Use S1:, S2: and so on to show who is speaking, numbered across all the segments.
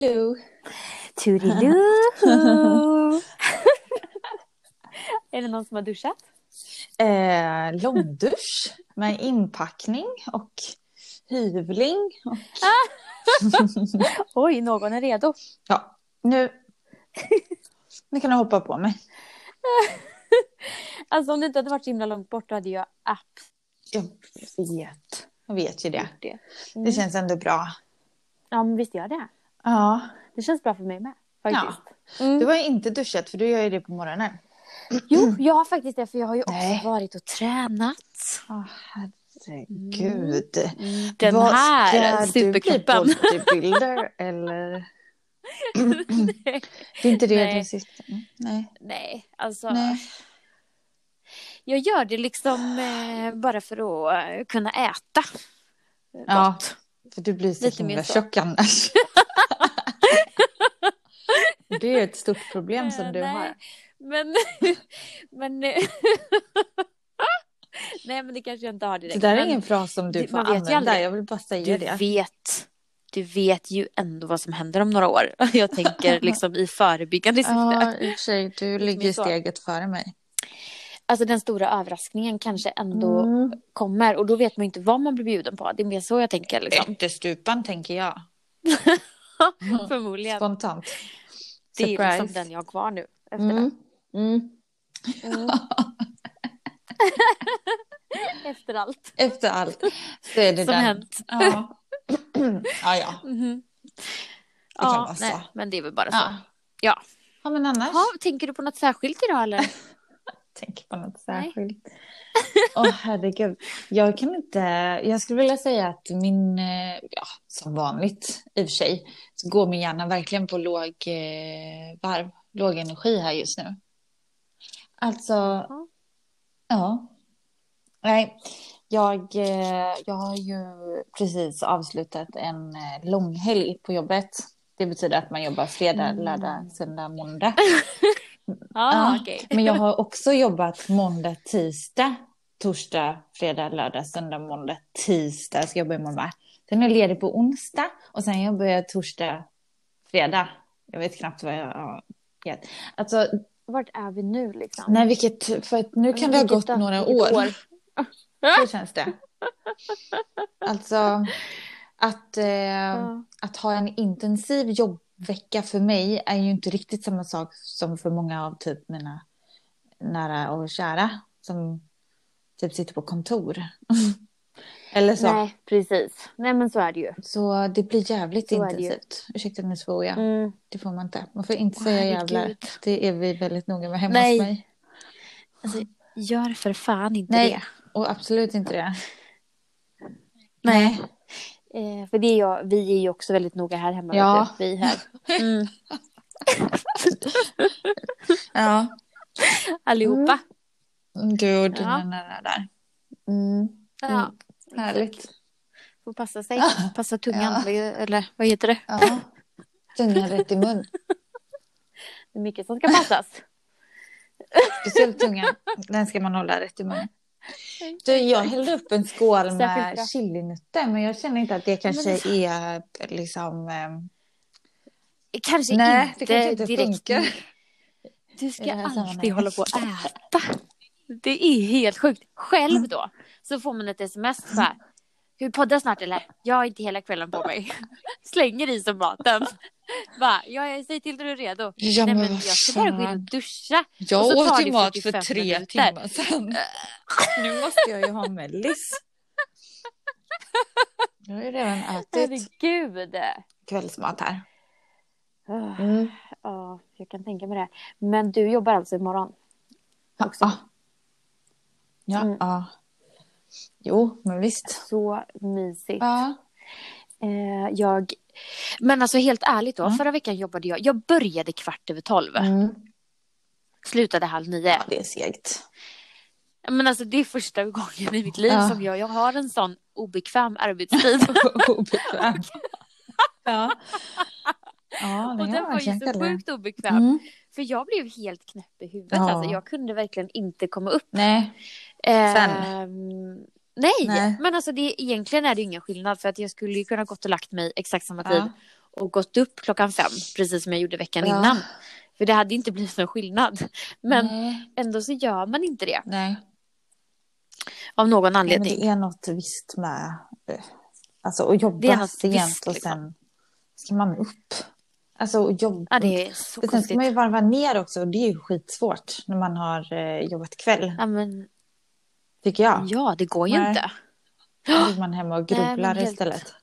S1: Hallå.
S2: Toodiloo! är det någon som har duschat?
S1: Eh, långdusch med inpackning och hyvling. Och...
S2: Oj, någon är redo.
S1: Ja, nu... nu kan du hoppa på mig.
S2: Alltså om det inte hade varit så himla långt bort då hade jag absolut
S1: Jag vet. Jag vet ju det.
S2: gjort det. Mm.
S1: Det känns ändå bra.
S2: Ja, men visst gör det.
S1: Ja.
S2: Det känns bra för mig med. Faktiskt.
S1: Du
S2: Mm.
S1: har ju inte duschat för du gör ju det på morgonen.
S2: Jo, jag har faktiskt det för jag har ju också
S1: Nej.
S2: varit och tränat.
S1: Ja, herregud.
S2: Mm. Den
S1: Vad
S2: här
S1: ska du bli,
S2: superkroppen.
S1: bodybuilder eller? Det är inte det
S2: Nej.
S1: du sitter... Mm, Nej.
S2: Nej, alltså.
S1: Nej.
S2: Jag gör det liksom eh, bara för att eh, kunna äta.
S1: Ja, för du blir så
S2: Lite mer
S1: himla
S2: så.
S1: tjock annars. det är ett stort problem som
S2: Eh,
S1: du
S2: nej,
S1: har.
S2: Men, men... eh, Nej, men det kanske jag inte har
S1: Det
S2: direkt.
S1: där är
S2: men
S1: ingen fras som du
S2: det-
S1: får
S2: man vet ju
S1: använda.
S2: aldrig.
S1: Jag vill bara säga
S2: du
S1: det.
S2: vet. Du vet ju ändå vad som händer om några år. Jag tänker liksom i förebyggande syfte.
S1: Ja, i och för sig. Du ligger ju
S2: så.
S1: steget före mig.
S2: Alltså den stora överraskningen kanske ändå
S1: Mm.
S2: kommer. Och då vet man ju inte vad man blir bjuden på. Det är mer så jag tänker liksom.
S1: Ättestupan tänker jag.
S2: Förmodligen.
S1: Spontant.
S2: Det är liksom
S1: Mm. Surprise.
S2: den jag har kvar nu. Efter det.
S1: Mm. Mm.
S2: Mm. Efter allt
S1: Efter allt så är det
S2: som
S1: den.
S2: hänt.
S1: Ja. ja, ja.
S2: Mhm.
S1: Det kan
S2: Ja,
S1: vara så.
S2: nej, men det är väl bara så.
S1: Ja.
S2: Ja.
S1: ja, men annars.
S2: Ha, tänker du på något särskilt idag eller?
S1: tänker på något
S2: Nej.
S1: särskilt. Åh herregud. Jag kan inte, jag skulle vilja säga att min, eh, ja som vanligt i och för sig, så går min hjärna verkligen på låg eh, varv, låg energi här just nu. Alltså,
S2: Ja.
S1: ja. Nej, jag, eh, jag har ju precis avslutat en eh, långhelg på jobbet. Det betyder att man jobbar fredag,
S2: Mm.
S1: lördag, söndag, måndag.
S2: Ja,
S1: Ja,
S2: okej.
S1: Men jag har också jobbat måndag, tisdag, torsdag, fredag, lördag, söndag, måndag, tisdag. Så jag jobbar imorgon med. Sen är jag ledig på onsdag och sen jobbar jag torsdag, fredag. Jag vet knappt vad jag har gett. Alltså,
S2: Vart är vi nu liksom?
S1: nej vilket, för att nu kan det ha
S2: Vilket
S1: gått
S2: dag-
S1: några
S2: vilket
S1: år. Så känns det. Alltså, att, eh,
S2: Ja.
S1: att ha en intensiv jobbvecka för mig är ju inte riktigt samma sak som för många av typ mina nära och kära som typ sitter på kontor. Eller så.
S2: Nej, precis. Nej, men så är det ju.
S1: Så det blir jävligt
S2: Så är det ju.
S1: intensivt. Ursäkta nu svor jag.
S2: Mm.
S1: Det får man inte. Man får inte
S2: Åh,
S1: säga
S2: herregud.
S1: jävlar. Det är vi väldigt noga med hemma
S2: Nej.
S1: hos mig.
S2: Alltså, gör för fan inte
S1: Nej,
S2: det.
S1: och absolut inte det.
S2: Nej. Eh, för det är jag, vi är ju också väldigt noga här hemma.
S1: Ja.
S2: vet du. Vi här. Mm.
S1: Ja.
S2: Allihopa.
S1: Du och dina
S2: Ja.
S1: nära där. Mm.
S2: Ja.
S1: Härligt.
S2: Får passa sig. Passa tungan.
S1: Ja.
S2: vad- Eller vad heter det?
S1: Ja. Tungan rätt i mun.
S2: Det är mycket som ska passas.
S1: Speciellt tungan. Den ska man hålla rätt i munnen. Du, jag hällde upp en skål
S2: Särskilt bra.
S1: med chilinötter men jag känner inte att det kanske är liksom... eh,
S2: Kanske
S1: Nej,
S2: inte
S1: det kanske inte
S2: direkt.
S1: funkar.
S2: Du
S1: i det
S2: ska
S1: här
S2: alltid
S1: sammanhanget.
S2: hålla på att äta. Det är helt sjukt. Själv då, så får man ett sms så här. Ska vi podda snart eller? Jag har inte hela kvällen på mig. Slänger i sig maten. Bara, ja, jag säger till när du är redo.
S1: Ja,
S2: Nej, men jag ska bara gå in och duscha.
S1: Jag
S2: och så tar
S1: åt
S2: det
S1: ju mat för
S2: 45
S1: tre
S2: minuter.
S1: timmar sedan. Nu måste jag ju ha mellis. Jag har ju redan ätit
S2: Herregud.
S1: kvällsmat här.
S2: Ah,
S1: Mm.
S2: Ja, jag kan tänka mig det. Men du jobbar alltså imorgon? Också.
S1: Ja. ah. Ja.
S2: Mm.
S1: ja. Jo, men visst.
S2: Så mysigt.
S1: Ja.
S2: Eh, jag... Men alltså helt ärligt då,
S1: Mm.
S2: förra veckan jobbade jag. Jag började kvart över tolv,
S1: Mm.
S2: slutade halv nio.
S1: ja, det är segt.
S2: Men alltså det är första gången i mitt liv
S1: Ja.
S2: som jag, jag har en sån obekväm arbetstid.
S1: Obekväm. ja. ja, det
S2: och den
S1: kan
S2: var
S1: man
S2: ju så
S1: kanske.
S2: sjukt obekväm.
S1: Mm.
S2: För jag blev helt knäpp i huvudet.
S1: Ja.
S2: Alltså, jag kunde verkligen inte komma upp.
S1: Nej,
S2: Ehm, nej,
S1: Nej.
S2: men alltså det, egentligen är det ju ingen skillnad. För att jag skulle ju kunna gått och lagt mig exakt samma tid.
S1: ja.
S2: och gått upp klockan fem, precis som jag gjorde veckan
S1: Ja.
S2: innan. För det hade inte blivit någon skillnad. Men
S1: Nej.
S2: ändå så gör man inte det
S1: Nej.
S2: av någon
S1: Nej, men
S2: anledning.
S1: det är något visst med eh, alltså, att jobba
S2: Det är något
S1: sent
S2: visst,
S1: och
S2: liksom.
S1: sen ska man upp. Alltså och jobba.
S2: Ja, det är så
S1: Sen ska
S2: konstigt.
S1: man ju varva ner också och det är ju skitsvårt när man har eh, jobbat kväll,
S2: Ja, men,
S1: tycker jag.
S2: ja, det går ju
S1: Nej.
S2: inte.
S1: Då ligger man hemma och
S2: Nej, men
S1: grubblar
S2: helt-
S1: istället.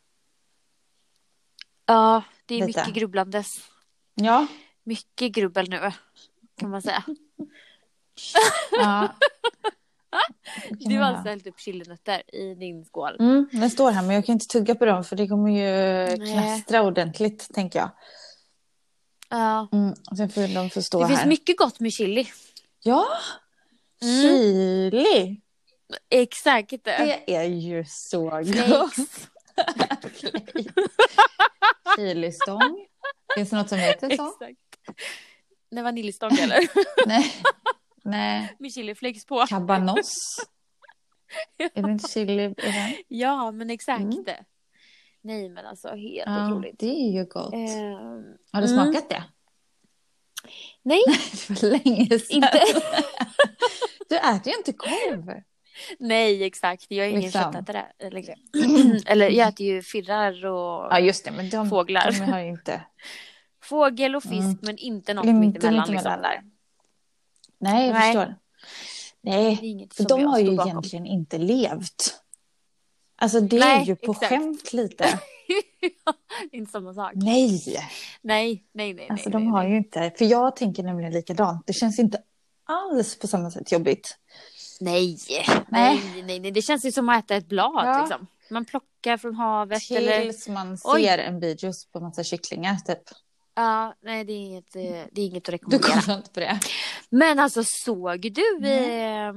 S2: Ja, det är
S1: Lite.
S2: mycket grubblandes.
S1: Ja.
S2: Mycket grubbel nu, kan man säga.
S1: ja.
S2: Du har alltså hällt upp chilinötter i din skål.
S1: Mm, den står här men jag kan inte tugga på dem för det kommer ju knastra ordentligt tänker jag.
S2: Ja.
S1: Mm, och sen får de få stå
S2: Det
S1: här.
S2: finns mycket gott med chili.
S1: Ja,
S2: Mm.
S1: chili.
S2: Exakt.
S1: Det är ju så gott.
S2: Flakes.
S1: Chilistång. Finns det något som heter så?
S2: Exakt. Nej, vaniljstång eller?
S1: Nej. Nej.
S2: med chiliflakes på.
S1: Cabanos. Är det inte chili i den?
S2: Ja, men exakt.
S1: Mm.
S2: Nej, men alltså helt
S1: Ja,
S2: otroligt.
S1: det är ju gott.
S2: Ehm,
S1: Har du
S2: mm.
S1: smakat det?
S2: nej,
S1: Det var länge sedan.
S2: inte.
S1: Du äter ju inte korv.
S2: nej, exakt. Jag är ingen
S1: Liksom.
S2: köttätare längre. eller jag äter ju firrar och
S1: Ja, just det. Men de,
S2: fåglar.
S1: de har ju inte...
S2: Fågel och fisk,
S1: Mm.
S2: men inte något
S1: Inte mittemellan.
S2: mittemellan. Liksom, där.
S1: Nej, jag
S2: Nej.
S1: förstår.
S2: Det är
S1: Nej,
S2: inget
S1: för
S2: som
S1: de
S2: jag
S1: har ju
S2: står bakom.
S1: egentligen inte levt. Alltså det är
S2: Nej,
S1: ju på
S2: exakt.
S1: skämt lite.
S2: inte samma sak.
S1: Nej,
S2: Nej, nej, nej.
S1: alltså
S2: nej,
S1: de
S2: nej,
S1: har
S2: nej.
S1: ju inte. För jag tänker nämligen likadant. Det känns inte alls på samma sätt jobbigt.
S2: Nej.
S1: Nej.
S2: Nej, nej, nej. Det känns ju som att äta ett blad.
S1: Ja.
S2: Liksom. Man plockar från havet eller...
S1: Tills man ser
S2: Oj. Oh,
S1: en video på massa kycklingar typ.
S2: Ja, nej, det är inget, eh, det är inget att
S1: Du
S2: rekommendera.
S1: kollar inte på det?
S2: Men alltså såg du eh,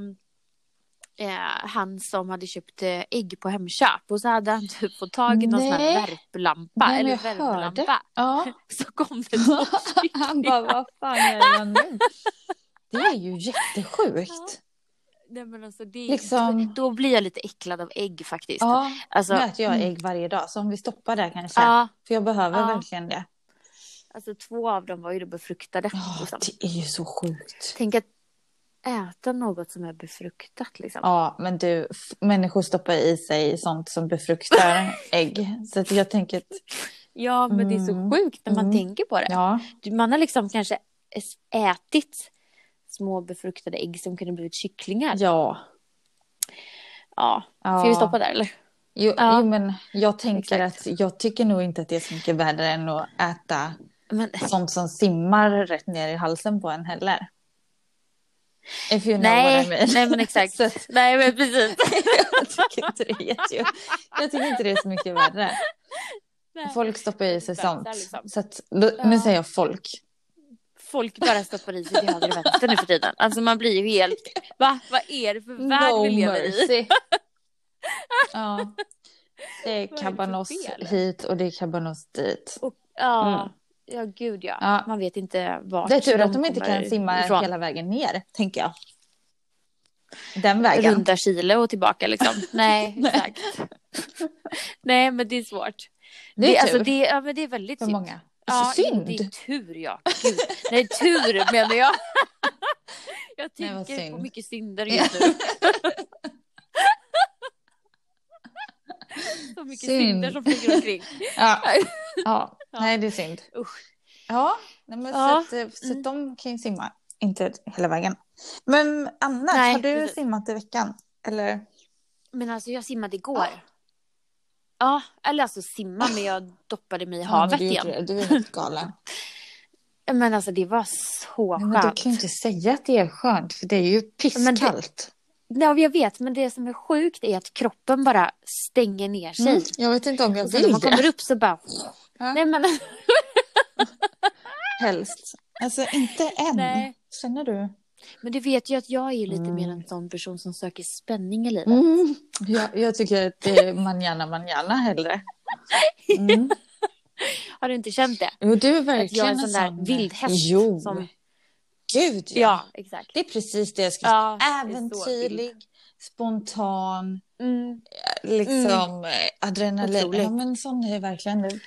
S2: eh, han som hade köpt eh, ägg på Hemköp och så hade han typ fått tag i någon sån
S1: Nej.
S2: här värplampa
S1: Nej, men
S2: eller
S1: jag hörde.
S2: värmelampa.
S1: Ja.
S2: Så kom det två
S1: Han
S2: kycklingar.
S1: bara, vad fan gör jag nu? Det är ju jättesjukt.
S2: Nej, men alltså, det,
S1: Liksom-
S2: Då blir jag lite äcklad av ägg faktiskt.
S1: Ja,
S2: alltså,
S1: nu äter jag ägg varje dag. Så om vi stoppar där kanske.
S2: ja,
S1: För jag behöver
S2: Ja.
S1: verkligen det.
S2: alltså två av dem var ju då befruktade.
S1: Ja, typ.
S2: liksom.
S1: det är ju så sjukt.
S2: Tänk att äta något som är befruktat liksom.
S1: Ja, men du, f- människor stoppar i sig sånt som befruktar ägg. Så att jag tänker att,
S2: Ja, men det är
S1: Mm.
S2: så sjukt när man
S1: Mm.
S2: tänker på det.
S1: ja,
S2: Du- Man har liksom kanske s- ätit små befruktade ägg som kunde blivit kycklingar.
S1: ja.
S2: Ja.
S1: ja.
S2: Ska vi stoppa där eller?
S1: Jo,
S2: Ja.
S1: jo, men jag tänker att jag tycker nog inte att det är så mycket värre än att äta
S2: Men,
S1: sånt som simmar rätt ner i halsen på en heller. If you know
S2: nej,
S1: what I mean.
S2: nej, men exakt.
S1: Så att
S2: nej, men precis.
S1: jag, tycker inte det är jätte... jag tycker inte det är så mycket värre.
S2: Nej.
S1: Folk stoppar i sig
S2: Bösar,
S1: sånt.
S2: liksom.
S1: Så att, då, nu
S2: Ja.
S1: säger jag folk.
S2: Folk bara stoppar i sig till höger och vänster nu för tiden. Alltså man blir ju helt... Va? Vad är det för värld vi lever i?
S1: ja. Det
S2: för
S1: är kabanos
S2: fel?
S1: hit och det är kabanos dit.
S2: Och, ja,
S1: Mm.
S2: ja, gud ja.
S1: Ja.
S2: Man vet inte vart
S1: Det är tur att de inte
S2: kommer
S1: kan simma
S2: ifrån.
S1: hela vägen ner, tänker jag. Den vägen.
S2: Runda Chile och tillbaka liksom. Nej, exakt. Nej, men det är svårt.
S1: Det är tur
S2: alltså, det, ja, men det är väldigt
S1: för
S2: synd.
S1: många.
S2: Ja,
S1: Så synd!
S2: Det är tur ja. Gud. Nej, tur menar jag. Jag
S1: Nej, vad
S2: tänker på
S1: synd.
S2: mycket synder just nu. Så mycket
S1: Synd.
S2: synder som flyger omkring.
S1: Ja. Ja.
S2: Ja.
S1: Nej, det är synd.
S2: Usch.
S1: Ja, nej, men
S2: Ja. Mm.
S1: Så, att, eh, så att de kan ju simma. Inte hela vägen. Men annars,
S2: Nej,
S1: har du
S2: precis.
S1: simmat i veckan? Eller?
S2: Men alltså jag simmade igår.
S1: Ja.
S2: Ja, eller alltså simma men jag doppade mig i
S1: men
S2: havet
S1: du, gjorde
S2: igen.
S1: det. du är helt galen.
S2: Men alltså det var så
S1: Nej, men du
S2: skönt.
S1: kan ju inte säga att det är skönt, för det är ju
S2: Men det-
S1: pisskallt.
S2: Ja, jag vet men det som är sjukt är att kroppen bara stänger ner sig.
S1: Mm, jag vet inte om jag
S2: Och sen när
S1: vill
S2: man
S1: det.
S2: kommer upp så bara...
S1: Ja.
S2: Nej men
S1: Helst. Alltså inte än.
S2: Nej.
S1: Känner du?
S2: Men du vet ju att jag är ju lite
S1: Mm.
S2: mer en sån person som söker spänning i livet.
S1: Mm. Jag, jag tycker att det är manjana manjana hellre. Mm.
S2: Har du inte känt det?
S1: Jo, du är
S2: Att
S1: verkligen eh,
S2: jag är en sån där vildhäst.
S1: Jo,
S2: Som...
S1: gud ja.
S2: Ja, exakt.
S1: Det är precis det jag skulle
S2: Ja, det är så
S1: Äventyrlig, spontan,
S2: vild. Mm.
S1: liksom eh, adrenalin.
S2: Otroligt.
S1: Ja, men sån är verkligen du.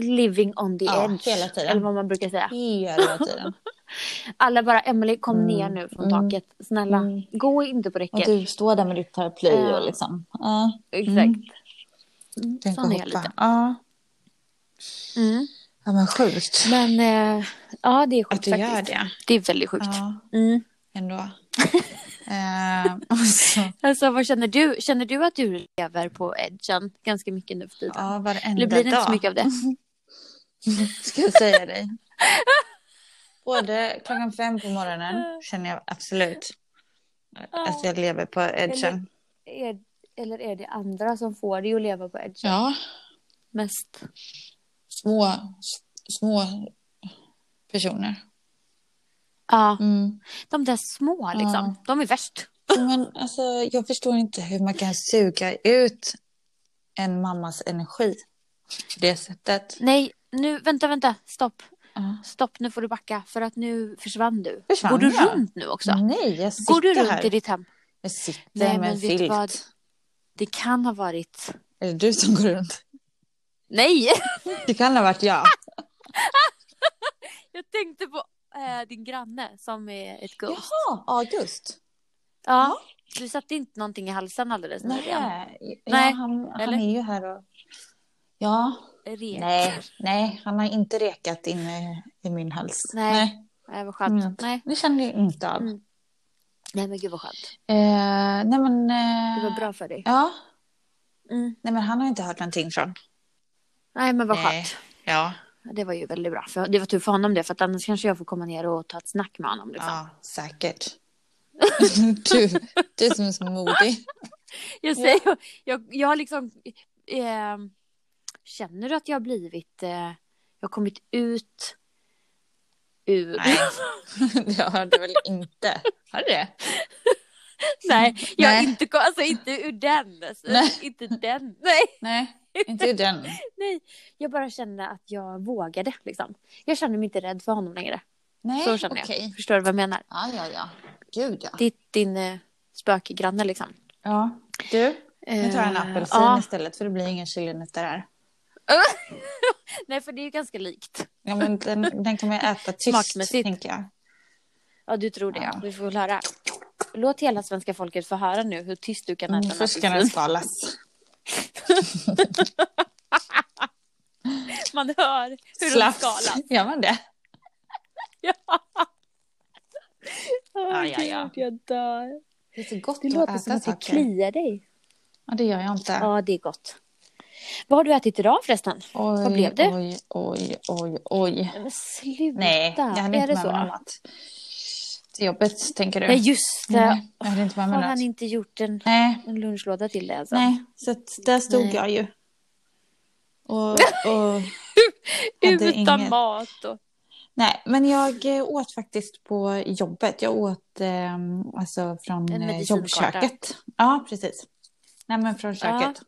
S2: living on the
S1: Ja,
S2: edge.
S1: hela tiden.
S2: Eller vad man brukar säga.
S1: Hela tiden.
S2: Alla bara, Emily kom
S1: Mm,
S2: ner nu från
S1: mm,
S2: taket. Snälla,
S1: mm.
S2: gå inte på
S1: Och
S2: räcket.
S1: du står där med ditt paraply
S2: Ja.
S1: och liksom. Ja,
S2: Exakt. Mm,
S1: tänk
S2: sån
S1: att
S2: är jag lite.
S1: hoppa. Ja.
S2: Mm.
S1: ja, men sjukt.
S2: Men eh, ja, det är
S1: Att
S2: sjukt
S1: du gör
S2: faktiskt.
S1: det.
S2: Det är väldigt sjukt.
S1: Ja,
S2: Mm.
S1: ändå. Ehm, och så,
S2: Alltså, vad känner du? Känner du att du lever på edgen ganska mycket nu för tiden?
S1: ja,
S2: Eller
S1: varenda
S2: blir det inte
S1: dag.
S2: så mycket av det?
S1: ska jag säga dig. Både klockan fem på morgonen känner jag absolut att jag lever på edgen.
S2: Är, eller är det andra som får dig att leva på edgen
S1: Ja,
S2: mest?
S1: små, små personer.
S2: Ja,
S1: Mm.
S2: de där små liksom.
S1: Ja.
S2: De är värst.
S1: Men alltså, jag förstår inte hur man kan suga ut en mammas energi på det sättet.
S2: Nej, nu, vänta, vänta, stopp.
S1: Ja.
S2: Stopp, nu får du backa för att nu försvann Mm. du.
S1: Försvann
S2: Går du
S1: jag?
S2: runt nu också?
S1: Nej, jag sitter
S2: Går du runt
S1: här.
S2: i ditt hem?
S1: Jag sitter
S2: Nej, men
S1: med en
S2: vet du
S1: filt.
S2: vad? Det kan ha varit...
S1: Är det du som går runt?
S2: Nej!
S1: Det kan ha varit jag.
S2: Jag tänkte på eh, din granne som är ett ghost. Ja.
S1: Jaha, August.
S2: Du satte inte någonting i halsen alldeles nyligen?
S1: Nej,
S2: Nej,
S1: Ja, han, han
S2: eller?
S1: är ju här och... Ja,
S2: Rek.
S1: nej, nej, han har inte rekat in i, i min hals.
S2: Nej. Nej, vad skönt.
S1: Mm.
S2: Nej.
S1: Det kände jag inte av.
S2: Mm. Nej, men gud vad skönt.
S1: Eh, nej, men...
S2: Det
S1: Eh,
S2: var bra för dig.
S1: Ja,
S2: Mm.
S1: nej, men han har inte hört någonting från.
S2: Nej, men vad
S1: Nej.
S2: skönt.
S1: Ja,
S2: Det var ju väldigt bra. För det var tur för honom det, för att annars kanske jag får komma ner och ta ett snack med honom. Liksom.
S1: ja säkert. du, du som är så modig.
S2: Jag, säger, jag, jag har liksom... Eh, känner du att jag har blivit... Eh, jag har kommit ut ur...
S1: Nej, det har du väl inte? Har du det?
S2: Nej, jag har
S1: Nej.
S2: inte kom, alltså inte ur den. Alltså,
S1: Nej.
S2: Inte den. Nej,
S1: Nej, inte den.
S2: nej. Jag bara kände att jag vågade liksom. Jag kände mig inte rädd för honom längre.
S1: Nej,
S2: Så känner jag.
S1: okej.
S2: Förstår du vad jag menar?
S1: Ja, ja, ja. Gud, ja.
S2: Ditt, din eh, spökgranne liksom.
S1: Ja, du. Nu tar jag en
S2: Eh,
S1: apelsin
S2: ja.
S1: istället för det blir ingen chilinötter här.
S2: Nej, för det är ju ganska likt.
S1: Ja, men den, den kan man ju äta tyst,
S2: Smakmässigt.
S1: tänker jag.
S2: Ja, du tror det.
S1: Ja.
S2: Vi får väl höra. Låt hela svenska folket få höra nu hur tyst du kan äta
S1: Mm,
S2: en
S1: först ska den
S2: apelsin.
S1: skalas.
S2: Man hör hur de
S1: Slafs.
S2: skalar.
S1: Gör man det?
S2: Ja.
S1: Ja, ja, ja.
S2: Gud, jag dör.
S1: Det är så gott
S2: Det låter som att det kliar dig.
S1: Ja, det gör jag inte.
S2: Ja, det är gott. Vad har du ätit idag förresten?
S1: Oj,
S2: vad blev det?
S1: Oj, oj, oj, oj.
S2: Nej, Men sluta.
S1: Nej, jag hade
S2: är
S1: inte
S2: det
S1: med
S2: så?
S1: mig något annat. Till jobbet, tänker du?
S2: Nej, just det.
S1: Nej, jag hade inte med
S2: Har
S1: mig något.
S2: han inte gjort en,
S1: Nej,
S2: en lunchlåda till dig? Alltså?
S1: nej, så att där stod
S2: Nej.
S1: jag ju. Och, och hade
S2: Utan
S1: inget.
S2: mat och...
S1: Nej, men jag eh, åt faktiskt på jobbet. Jag åt eh, alltså från
S2: En
S1: eh,
S2: medicinkarta.
S1: jobbköket. Ja, precis. Nej, men från köket.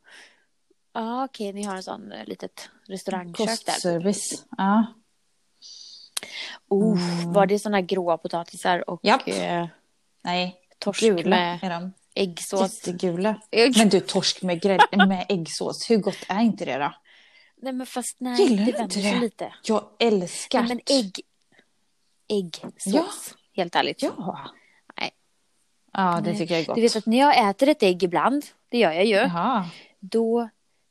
S2: Ja, okej, ni har en sån eh, litet restaurangkök där.
S1: Kostservice. Ja.
S2: Oh,
S1: Mm.
S2: Var det såna gråa potatisar och
S1: Japp.
S2: eh,
S1: Nej,
S2: torsk
S1: gula
S2: med
S1: är de.
S2: äggsås?
S1: Jättegula.
S2: Ägg.
S1: Men du, torsk med, grädde, med äggsås. Hur gott är inte det då?
S2: Nej, men fast nej,
S1: Gillar
S2: det
S1: du
S2: vänder
S1: inte
S2: sig
S1: det?
S2: lite.
S1: Jag älskar.
S2: Nej, men ägg... Äggsås,
S1: Ja.
S2: helt ärligt.
S1: Ja.
S2: Nej.
S1: Ja, det
S2: Nej.
S1: tycker jag är gott.
S2: Du vet att när jag äter ett ägg ibland, det gör jag ju,
S1: Jaha.
S2: då,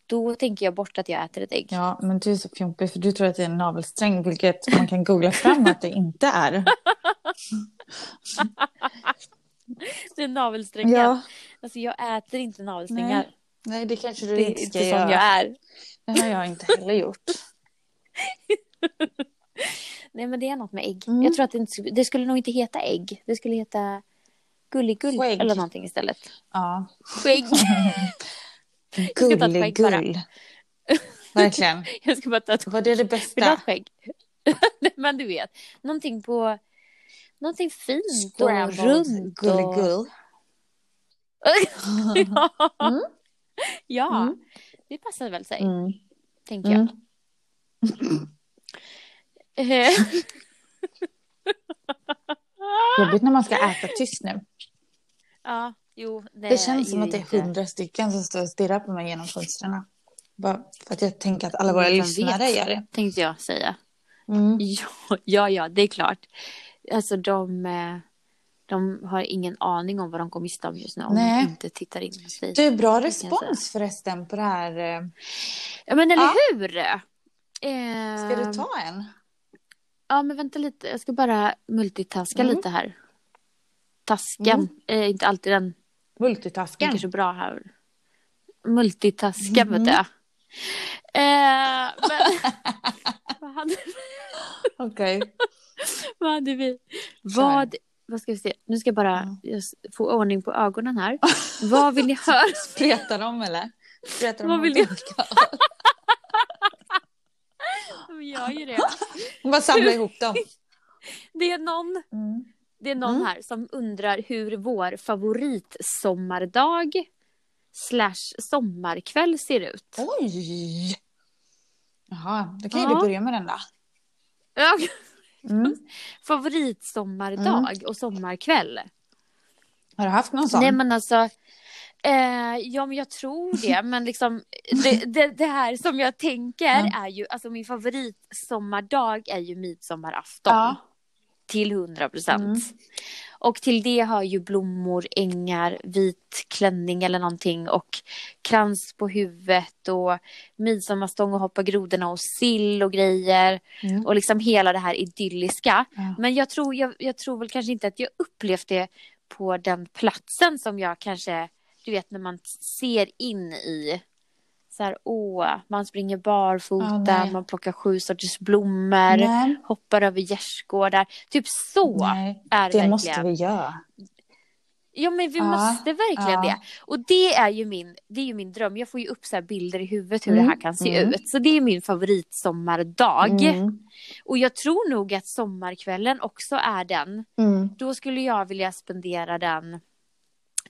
S2: då tänker jag bort att jag äter ett ägg.
S1: Ja, men du är så fjompig för du tror att det är en navelsträng, vilket man kan googla fram att det inte är.
S2: Det är navelsträngar. Alltså jag äter inte navelsträngar.
S1: Nej, Nej, det kanske du
S2: Det är
S1: inte
S2: inte
S1: ska
S2: sån
S1: göra.
S2: jag är.
S1: Det har jag inte heller gjort.
S2: Nej men det är något med ägg.
S1: Mm.
S2: Jag tror att det, inte, skulle- det skulle nog inte heta ägg. Det skulle heta gulligull
S1: Skägg.
S2: eller någonting istället.
S1: Ja.
S2: Skägg. ska ta ett skägg bara.
S1: Gulligull. Verkligen.
S2: Jag ska bara ta ett skägg.
S1: Var det det
S2: Vill du ha
S1: bästa?
S2: ett skägg? Nej, men du vet, någonting på... Någonting fint och
S1: Scrambled
S2: runt. Och...
S1: gulligull.
S2: ja,
S1: Mm.
S2: ja.
S1: Mm.
S2: det passar väl sig,
S1: Mm.
S2: tänker jag.
S1: Mm.
S2: Eh,
S1: Jobbigt när man ska äta tyst nu.
S2: ja, jo,
S1: Det känns som
S2: ju
S1: att det
S2: inte-
S1: är hundra stycken som står och stirrar på mig genom fönstren. Bara för att jag tänker att alla våra
S2: Vem
S1: lyssnare
S2: vet?
S1: gör det.
S2: Tänkte jag säga.
S1: Mm.
S2: Ja, ja, ja, det är klart. Alltså de, eh, de har ingen aning om vad de går miste om just nu om
S1: Nej.
S2: de inte tittar in hos dig.
S1: Du, bra
S2: jag säga.
S1: respons förresten på det här. eh.
S2: Ja, men eller
S1: Ja.
S2: hur? Eh,
S1: Ska du ta en?
S2: Ja, men vänta lite. Jag ska bara multitaska
S1: Mm.
S2: lite här. Tasken. Eh, inte alltid den
S1: Multitasken.
S2: funkar så bra här. Multitaska,
S1: Mhm.
S2: vet jag. Eh, men... vad, hade,
S1: Okej.
S2: vad hade vi?
S1: Kör.
S2: Vad, vad ska vi se? Nu ska jag bara
S1: Ja.
S2: just få ordning på ögonen här. vad vill ni höra?
S1: Spretar de eller? Spretar de
S2: Vad
S1: åt
S2: vill du?
S1: olika?
S2: Men Jag gör det.
S1: Hon bara samlar ihop dem.
S2: Det är någon,
S1: Mm.
S2: det är någon
S1: Mm.
S2: här som undrar hur vår favoritsommardag slash sommarkväll ser ut.
S1: Oj! Jaha, då kan ju
S2: Ja.
S1: du börja med den då.
S2: Ja,
S1: Mm.
S2: favoritsommardag och sommarkväll.
S1: Har du haft Mm. någon sån?
S2: Nej men alltså, eh, ja men jag tror det, men liksom det, det, det här som jag tänker
S1: Mm.
S2: är ju, alltså min favoritsommardag är ju midsommarafton.
S1: ja.
S2: Till 100 procent.
S1: Mm.
S2: Och till det har ju blommor, ängar, vit klänning eller någonting och krans på huvudet och midsommarstång och hoppa grodorna och sill och grejer.
S1: Mm.
S2: Och liksom hela det här idylliska.
S1: Ja.
S2: Men jag tror, jag, jag tror väl kanske inte att jag upplevt det på den platsen som jag kanske, du vet när man ser in i. Så här, åh, man springer
S1: Ja,
S2: barfota,
S1: nej.
S2: man plockar sju sorters blommor,
S1: Nej.
S2: hoppar över gärdsgårdar. Typ så
S1: Nej.
S2: är
S1: Det
S2: verkligen.
S1: måste vi göra.
S2: Ja men vi
S1: Ja,
S2: måste verkligen
S1: ja.
S2: det. Och det är ju min, det är ju min dröm. Jag får ju upp så här bilder i huvudet hur
S1: Mm,
S2: det här kan se
S1: mm.
S2: ut. Så det är min favoritsommardag.
S1: Mm.
S2: Och jag tror nog att sommarkvällen också är den.
S1: Mm.
S2: Då skulle jag vilja spendera den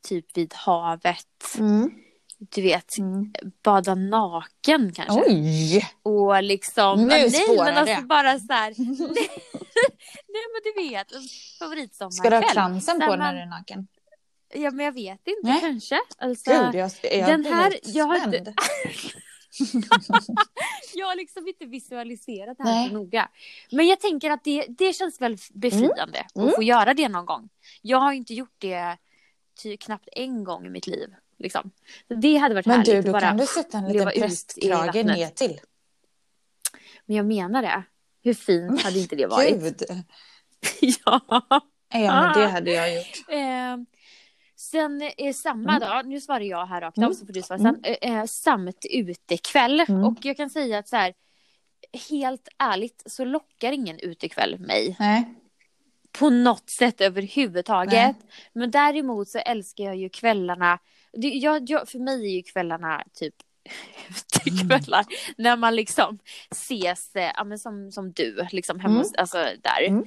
S2: typ vid havet.
S1: Mm.
S2: Du vet,
S1: Mm.
S2: bada naken kanske.
S1: Oj!
S2: Och liksom,
S1: Nu
S2: Ja, nej
S1: spårar
S2: men
S1: det.
S2: alltså bara så här. nej, nej men du vet, favoritsommarkväll.
S1: Ska du ha kransen
S2: Där
S1: på
S2: man-
S1: när du är naken?
S2: Ja men jag vet inte
S1: Nej.
S2: kanske. Alltså,
S1: Gud, jag, jag
S2: den
S1: blir
S2: här-
S1: lite
S2: jag har inte-
S1: spänd.
S2: Jag har liksom inte visualiserat det här
S1: Nej.
S2: så noga. Men jag tänker att det, det känns väl befriande
S1: Mm.
S2: att få göra det någon gång. Jag har ju inte gjort det ty, knappt en gång i mitt liv. Liksom. Så det hade varit
S1: Men
S2: härligt.
S1: du,
S2: att
S1: då
S2: bara,
S1: kan du sätta en liten
S2: leva ut i
S1: prästkrage
S2: vattnet.
S1: ner till.
S2: Men jag menar det. Hur fint hade inte det varit?
S1: Gud!
S2: ja.
S1: Ja, men
S2: Ah.
S1: det hade jag gjort.
S2: Eh, sen eh, samma
S1: Mm.
S2: dag, nu svarar jag här rakt av
S1: Mm.
S2: så får du svara sen, eh, eh, samt utekväll.
S1: Mm.
S2: Och jag kan säga att så här, helt ärligt så lockar ingen utekväll mig.
S1: Nej.
S2: på något sätt överhuvudtaget.
S1: Nej.
S2: Men däremot så älskar jag ju kvällarna. Det, jag, jag, för mig är ju kvällarna typ utekvällar. När man liksom ses, eh, ja, men som, som du, liksom hemma
S1: Mm.
S2: hos, alltså där.
S1: Mm.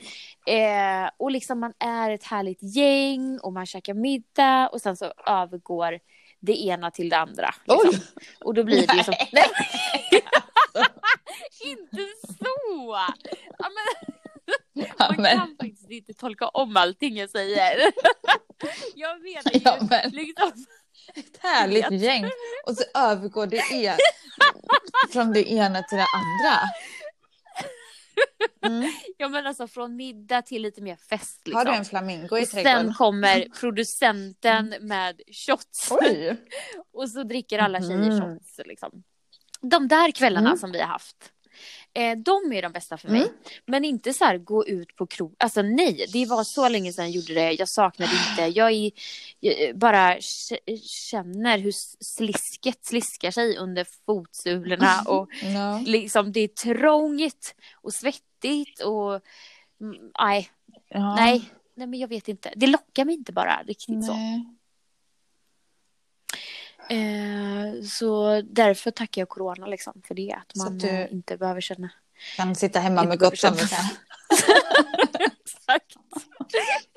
S2: Eh, och liksom man är ett härligt gäng och man käkar middag och sen så övergår det ena till det andra. Liksom.
S1: Oj!
S2: Och då blir det ju som...
S1: Nej.
S2: Nej. Inte så! Ja, men...
S1: Ja,
S2: Man
S1: men,
S2: kan faktiskt inte tolka om allting jag säger. Jag menar ju
S1: ja, men
S2: liksom...
S1: ett härligt gäng. Och så övergår det en, från det ena till det andra. Mm.
S2: Jag menar alltså från middag till lite mer fest liksom.
S1: Har du en flamingo i
S2: och sen
S1: trädgården? Mm.
S2: kommer producenten med shots
S1: Oj!
S2: och så dricker alla tjejer
S1: Mhm.
S2: shots. Liksom. De där kvällarna
S1: Mm.
S2: som vi har haft, eh, de är de bästa för mig.
S1: Mm.
S2: Men inte så här gå ut på krog, alltså nej, det var så länge sedan jag gjorde det, jag saknade inte, jag, är, jag bara k- känner hur slisket sliskar sig under fotsulorna och
S1: Ja.
S2: liksom det är trångt och svettigt och mm, nej,
S1: Ja.
S2: nej, nej men jag vet inte, det lockar mig inte bara riktigt så.
S1: Nej.
S2: Eh, så därför tackar jag corona liksom för det. Att
S1: Så
S2: man
S1: att du-
S2: eh, inte behöver känna.
S1: Kan sitta hemma med
S2: Inte
S1: gott
S2: översatt.
S1: samvete.
S2: Exakt.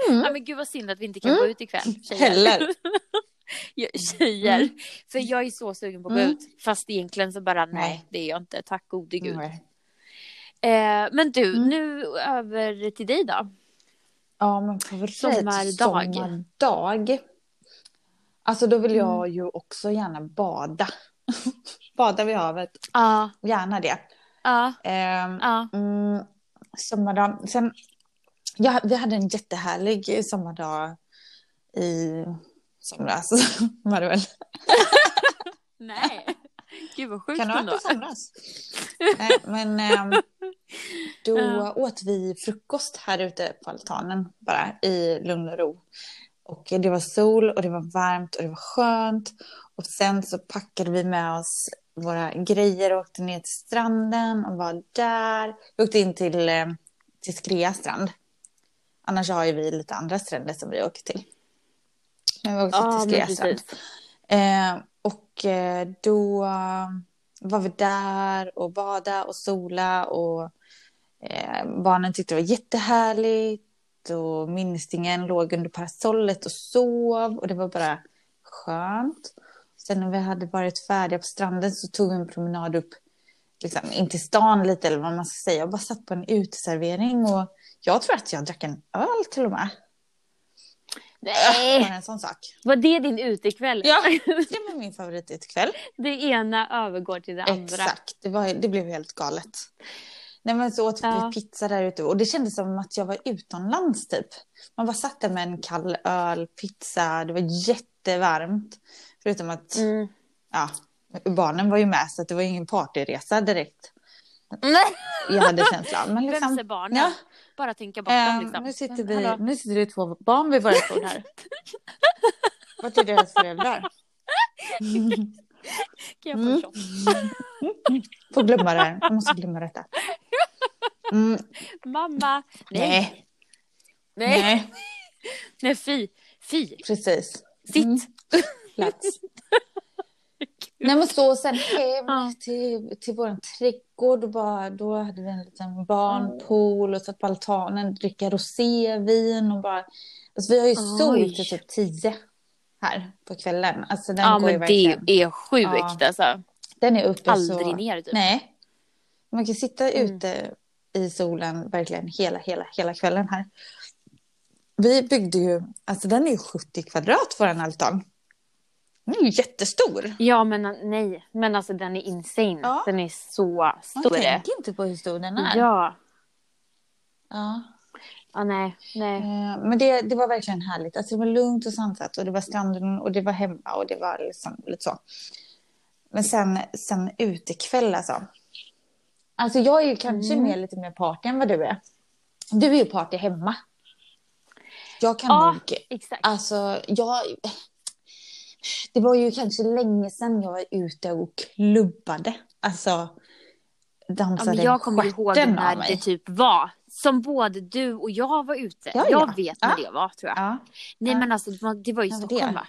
S1: Mm.
S2: Ja, men gud vad synd att vi inte kan
S1: Mm.
S2: gå ut ikväll. Tjejer.
S1: Heller.
S2: Ja, tjejer. För jag är så sugen på att gå
S1: Mm.
S2: ut. Fast egentligen så bara nej,
S1: Nej.
S2: det är jag inte. Tack gode gud.
S1: Nej.
S2: Eh, men du,
S1: Mm.
S2: nu över till dig då.
S1: Ja, men favorit
S2: Sommardag. Mm.
S1: sommardag. Alltså då vill jag ju också gärna bada. Badar vid havet,
S2: Ja,
S1: gärna det.
S2: ja,
S1: Ehm,
S2: ja.
S1: Mm, sommardag. Sen, ja, vi hade en jättehärlig sommardag i somras. Marvel.
S2: Nej. Gud vad sjukt
S1: Kan det ha
S2: ändå.
S1: varit i somras? Nej, men ehm, då
S2: Ja.
S1: åt vi frukost här ute på altanen bara i lugn och ro. Och det var sol och det var varmt och det var skönt. Och sen så packade vi med oss våra grejer och åkte ner till stranden och var där. Vi åkte in till, eh, till Skrea strand. Annars har ju vi lite andra stränder som vi åker till. Men vi åkte
S2: Ja,
S1: till
S2: men
S1: Skrea strand.
S2: precis.
S1: Eh, och eh, då var vi där och badade och sola och eh, barnen tyckte det var jättehärligt och minstingen låg under parasollet och sov och det var bara skönt. Sen när vi hade varit färdiga på stranden så tog vi en promenad upp, liksom, in till stan lite eller vad man ska säga. Jag bara satt på en uteservering och jag tror att jag drack en öl till och med.
S2: Nej.
S1: Bara en sån sak.
S2: Var det din utekväll?
S1: Ja, det var min favorit i ett kväll.
S2: Det ena övergår till det andra.
S1: Exakt, det, var, det blev helt galet. Nej, men så åt
S2: Ja.
S1: vi pizza där ute och det kändes som att jag var utomlands typ. Man bara satt där med en kall öl, pizza, det var jättevarmt. Förutom att
S2: Mm.
S1: ja, barnen var ju med så att det var ingen partyresa direkt.
S2: Nej.
S1: Jag hade känslan. Men
S2: Vems är
S1: liksom,
S2: barnen?
S1: Ja.
S2: Bara tänka bort
S1: eh,
S2: dem liksom.
S1: nu, sitter
S2: Men,
S1: vi,
S2: hallå?
S1: nu sitter det två barn vid våra bord här. Vart är deras föräldrar?
S2: Kan jag få en
S1: Mm.
S2: shot?
S1: Får glömma det här, jag måste glömma detta. Mm,
S2: Mamma! Nej,
S1: nej,
S2: nej,
S1: nej,
S2: nej, fy, fy,
S1: precis.
S2: sitt.
S1: Mm. plats. Nej men så sen hem till, till vår trädgård och bara, då hade vi en liten barnpool och satt på altanen, dricka rosévin och bara, alltså vi har ju sol
S2: Oj.
S1: till typ tio här på kvällen. Alltså den
S2: Ja,
S1: går ju
S2: men det
S1: verkligen,
S2: är sjukt
S1: Ja.
S2: alltså.
S1: den är uppe
S2: Aldrig
S1: så.
S2: ner typ.
S1: Nej. Man kan sitta
S2: Mm.
S1: ute i solen verkligen hela, hela, hela kvällen här. Vi byggde ju, alltså den är ju 70 kvadrat våran altan. Den är ju jättestor.
S2: Ja, men nej, men alltså den är insane.
S1: Ja.
S2: Den är så
S1: Man
S2: stor.
S1: tänker inte på hur stor den är.
S2: Ja,
S1: Ja.
S2: ja, nej, nej.
S1: Eh, Men det, det var verkligen härligt. Alltså det var lugnt och sansat och det var stranden och det var hemma och det var liksom lite så. Men sen, sen utekväll alltså. Alltså jag är ju kanske
S2: Mm.
S1: mer lite mer party än vad du är. Du är ju party hemma. Jag kan
S2: Ja.
S1: nog
S2: Exakt.
S1: Alltså, jag... Det var ju kanske länge sedan jag var ute och klubbade. Alltså,
S2: Ja,
S1: dansade
S2: men jag kommer ihåg
S1: stjärten
S2: när
S1: av mig.
S2: det typ var. Som både du och jag var ute.
S1: Ja,
S2: jag
S1: ja.
S2: vet när
S1: Ja.
S2: det var tror jag.
S1: Ja.
S2: Nej
S1: Ja.
S2: men alltså det var- det var ju
S1: Ja, det.
S2: Stockholm va?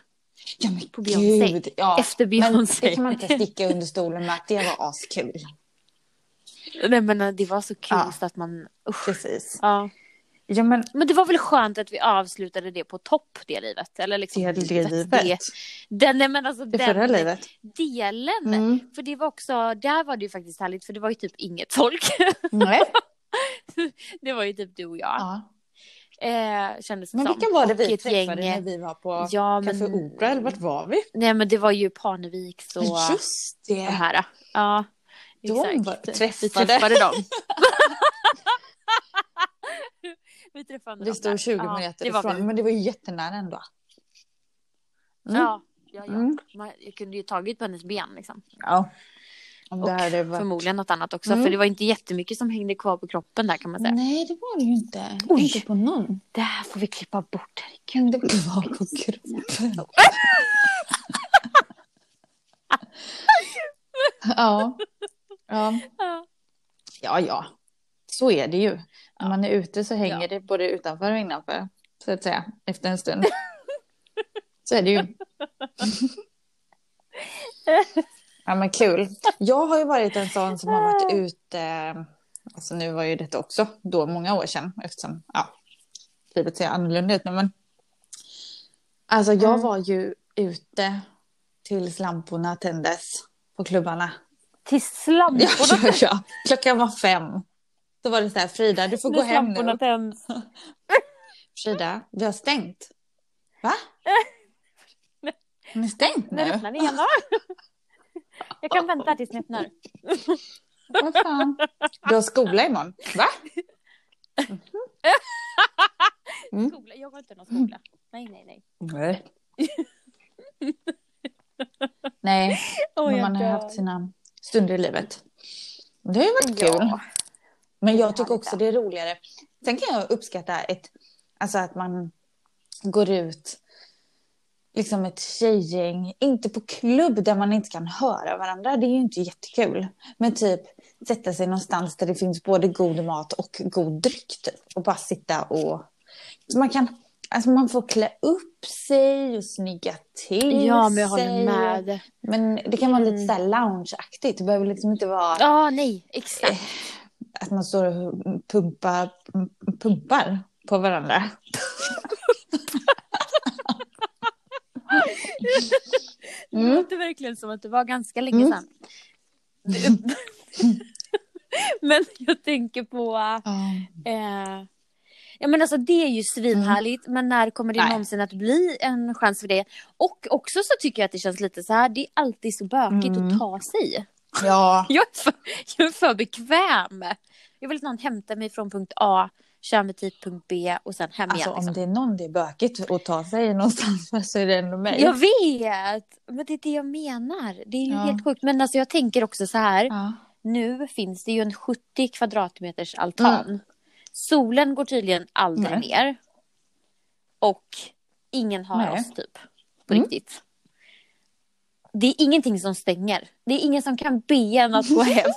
S1: ja, men
S2: På Beyoncé.
S1: gud. Ja.
S2: Efter
S1: Men
S2: Beyoncé.
S1: det kan man inte sticka under stolen med att det var askul.
S2: Nej men eh, det var så kul
S1: Ja.
S2: så att man, usch.
S1: Precis.
S2: Ja.
S1: Ja, men
S2: Men det var väl skönt att vi avslutade det på topp, det livet. Eller liksom
S1: det livet.
S2: Det, den, nej, men alltså
S1: Det
S2: den
S1: förra livet.
S2: delen.
S1: Mm.
S2: För det var också, där var det ju faktiskt härligt för det var ju typ inget folk.
S1: Nej.
S2: det var ju typ du och jag.
S1: Ja.
S2: Eh, kändes det
S1: Men
S2: som.
S1: vilka var det
S2: Och
S1: vi
S2: ett
S1: träffade
S2: gäng,
S1: när vi var på
S2: Ja, men,
S1: Café Opera? Eller vart var vi?
S2: Nej men det var ju Parneviks och
S1: Just
S2: de
S1: det.
S2: här. Ja,
S1: De var-
S2: Vi
S1: träffade.
S2: träffade dem. vi träffade
S1: Vi
S2: dem där.
S1: stod 20
S2: Ja,
S1: meter
S2: det var
S1: ifrån,
S2: vi.
S1: men det var ju jättenära ändå. Mm.
S2: Ja, ja, ja.
S1: Mm.
S2: Man, jag kunde ju tagit på hennes ben liksom.
S1: Ja. Om
S2: Och
S1: det hade varit...
S2: Förmodligen något annat också.
S1: Mm.
S2: För det var inte jättemycket som hängde kvar på kroppen där kan man säga.
S1: Nej, det var det ju inte.
S2: Oj.
S1: Inte på någon.
S2: Det här får vi klippa bort.
S1: Kan det vara på kroppen? ja. ja.
S2: Ja.
S1: Ja, ja. Så är det ju. När man är ute så hänger
S2: Ja.
S1: det både utanför och innanför. Så att säga, efter en stund. så är det ju. ja, men kul. Jag har ju varit en sån som har varit ute. Alltså nu var ju detta också då många år sedan. Eftersom ja, livet ser annorlunda ut nu. Men... Alltså jag
S2: Mm.
S1: var ju ute tills lamporna tändes på klubbarna.
S2: Till slamporna.
S1: Ja, ja, ja. Klockan var fem. Då var det så här, Frida, du får gå
S2: när
S1: hem
S2: slamporna
S1: nu.
S2: tänds.
S1: Frida, vi har stängt. Va? Har ni stängt
S2: När
S1: nu?
S2: öppnar ni igen då? Jag kan vänta tills ni öppnar.
S1: Mm. Vad fan. Du har skola imorgon. Va? Mm.
S2: Skola. Jag går inte någon skola. Nej, nej, nej.
S1: Nej. Nej, men
S2: jag
S1: man har ju
S2: dör.
S1: haft sina stunder i livet. Det har ju varit
S2: Ja.
S1: kul. Men jag tycker
S2: Härligt,
S1: också det är roligare. Sen kan jag uppskatta ett, alltså att man går ut, liksom ett tjejgäng, inte på klubb där man inte kan höra varandra, det är ju inte jättekul. Men typ sätta sig någonstans där det finns både god mat och god dryck typ. och bara sitta och... Så man kan, alltså man får klä upp sig och snygga till
S2: Ja, men jag håller
S1: sig.
S2: med.
S1: Men det kan vara lite
S2: Mm.
S1: så här loungeaktigt, det behöver liksom inte vara
S2: Ja, nej, exakt.
S1: att man står och pumpar, pumpar på varandra.
S2: Det
S1: Mm.
S2: låter verkligen som att det var ganska länge
S1: Mm.
S2: sedan. Det- Men jag tänker på... Eh, ja, men alltså, det är ju svinhärligt, men när kommer det
S1: Mm. Nej.
S2: någonsin att bli en chans för det? Och också så tycker jag att det känns lite så här, det är alltid så bökigt
S1: Mm.
S2: att ta sig.
S1: Ja.
S2: Jag är, för, jag är för bekväm. Jag vill att någon hämtar mig från punkt A, kör mig till punkt B och sen hem
S1: Alltså
S2: igen. Liksom.
S1: om det är någon det är bökigt att ta sig någonstans här så är det ändå mig.
S2: Jag vet! Men det är det jag menar. Det är ju
S1: Ja.
S2: helt sjukt. Men alltså jag tänker också så här.
S1: Ja.
S2: Nu finns det ju en 70 kvadratmeters altan. Solen går tydligen aldrig
S1: Nej.
S2: ner. Och ingen har
S1: Nej.
S2: oss typ. På
S1: Mm.
S2: riktigt. Det är ingenting som stänger. Det är ingen som kan be en att gå hem.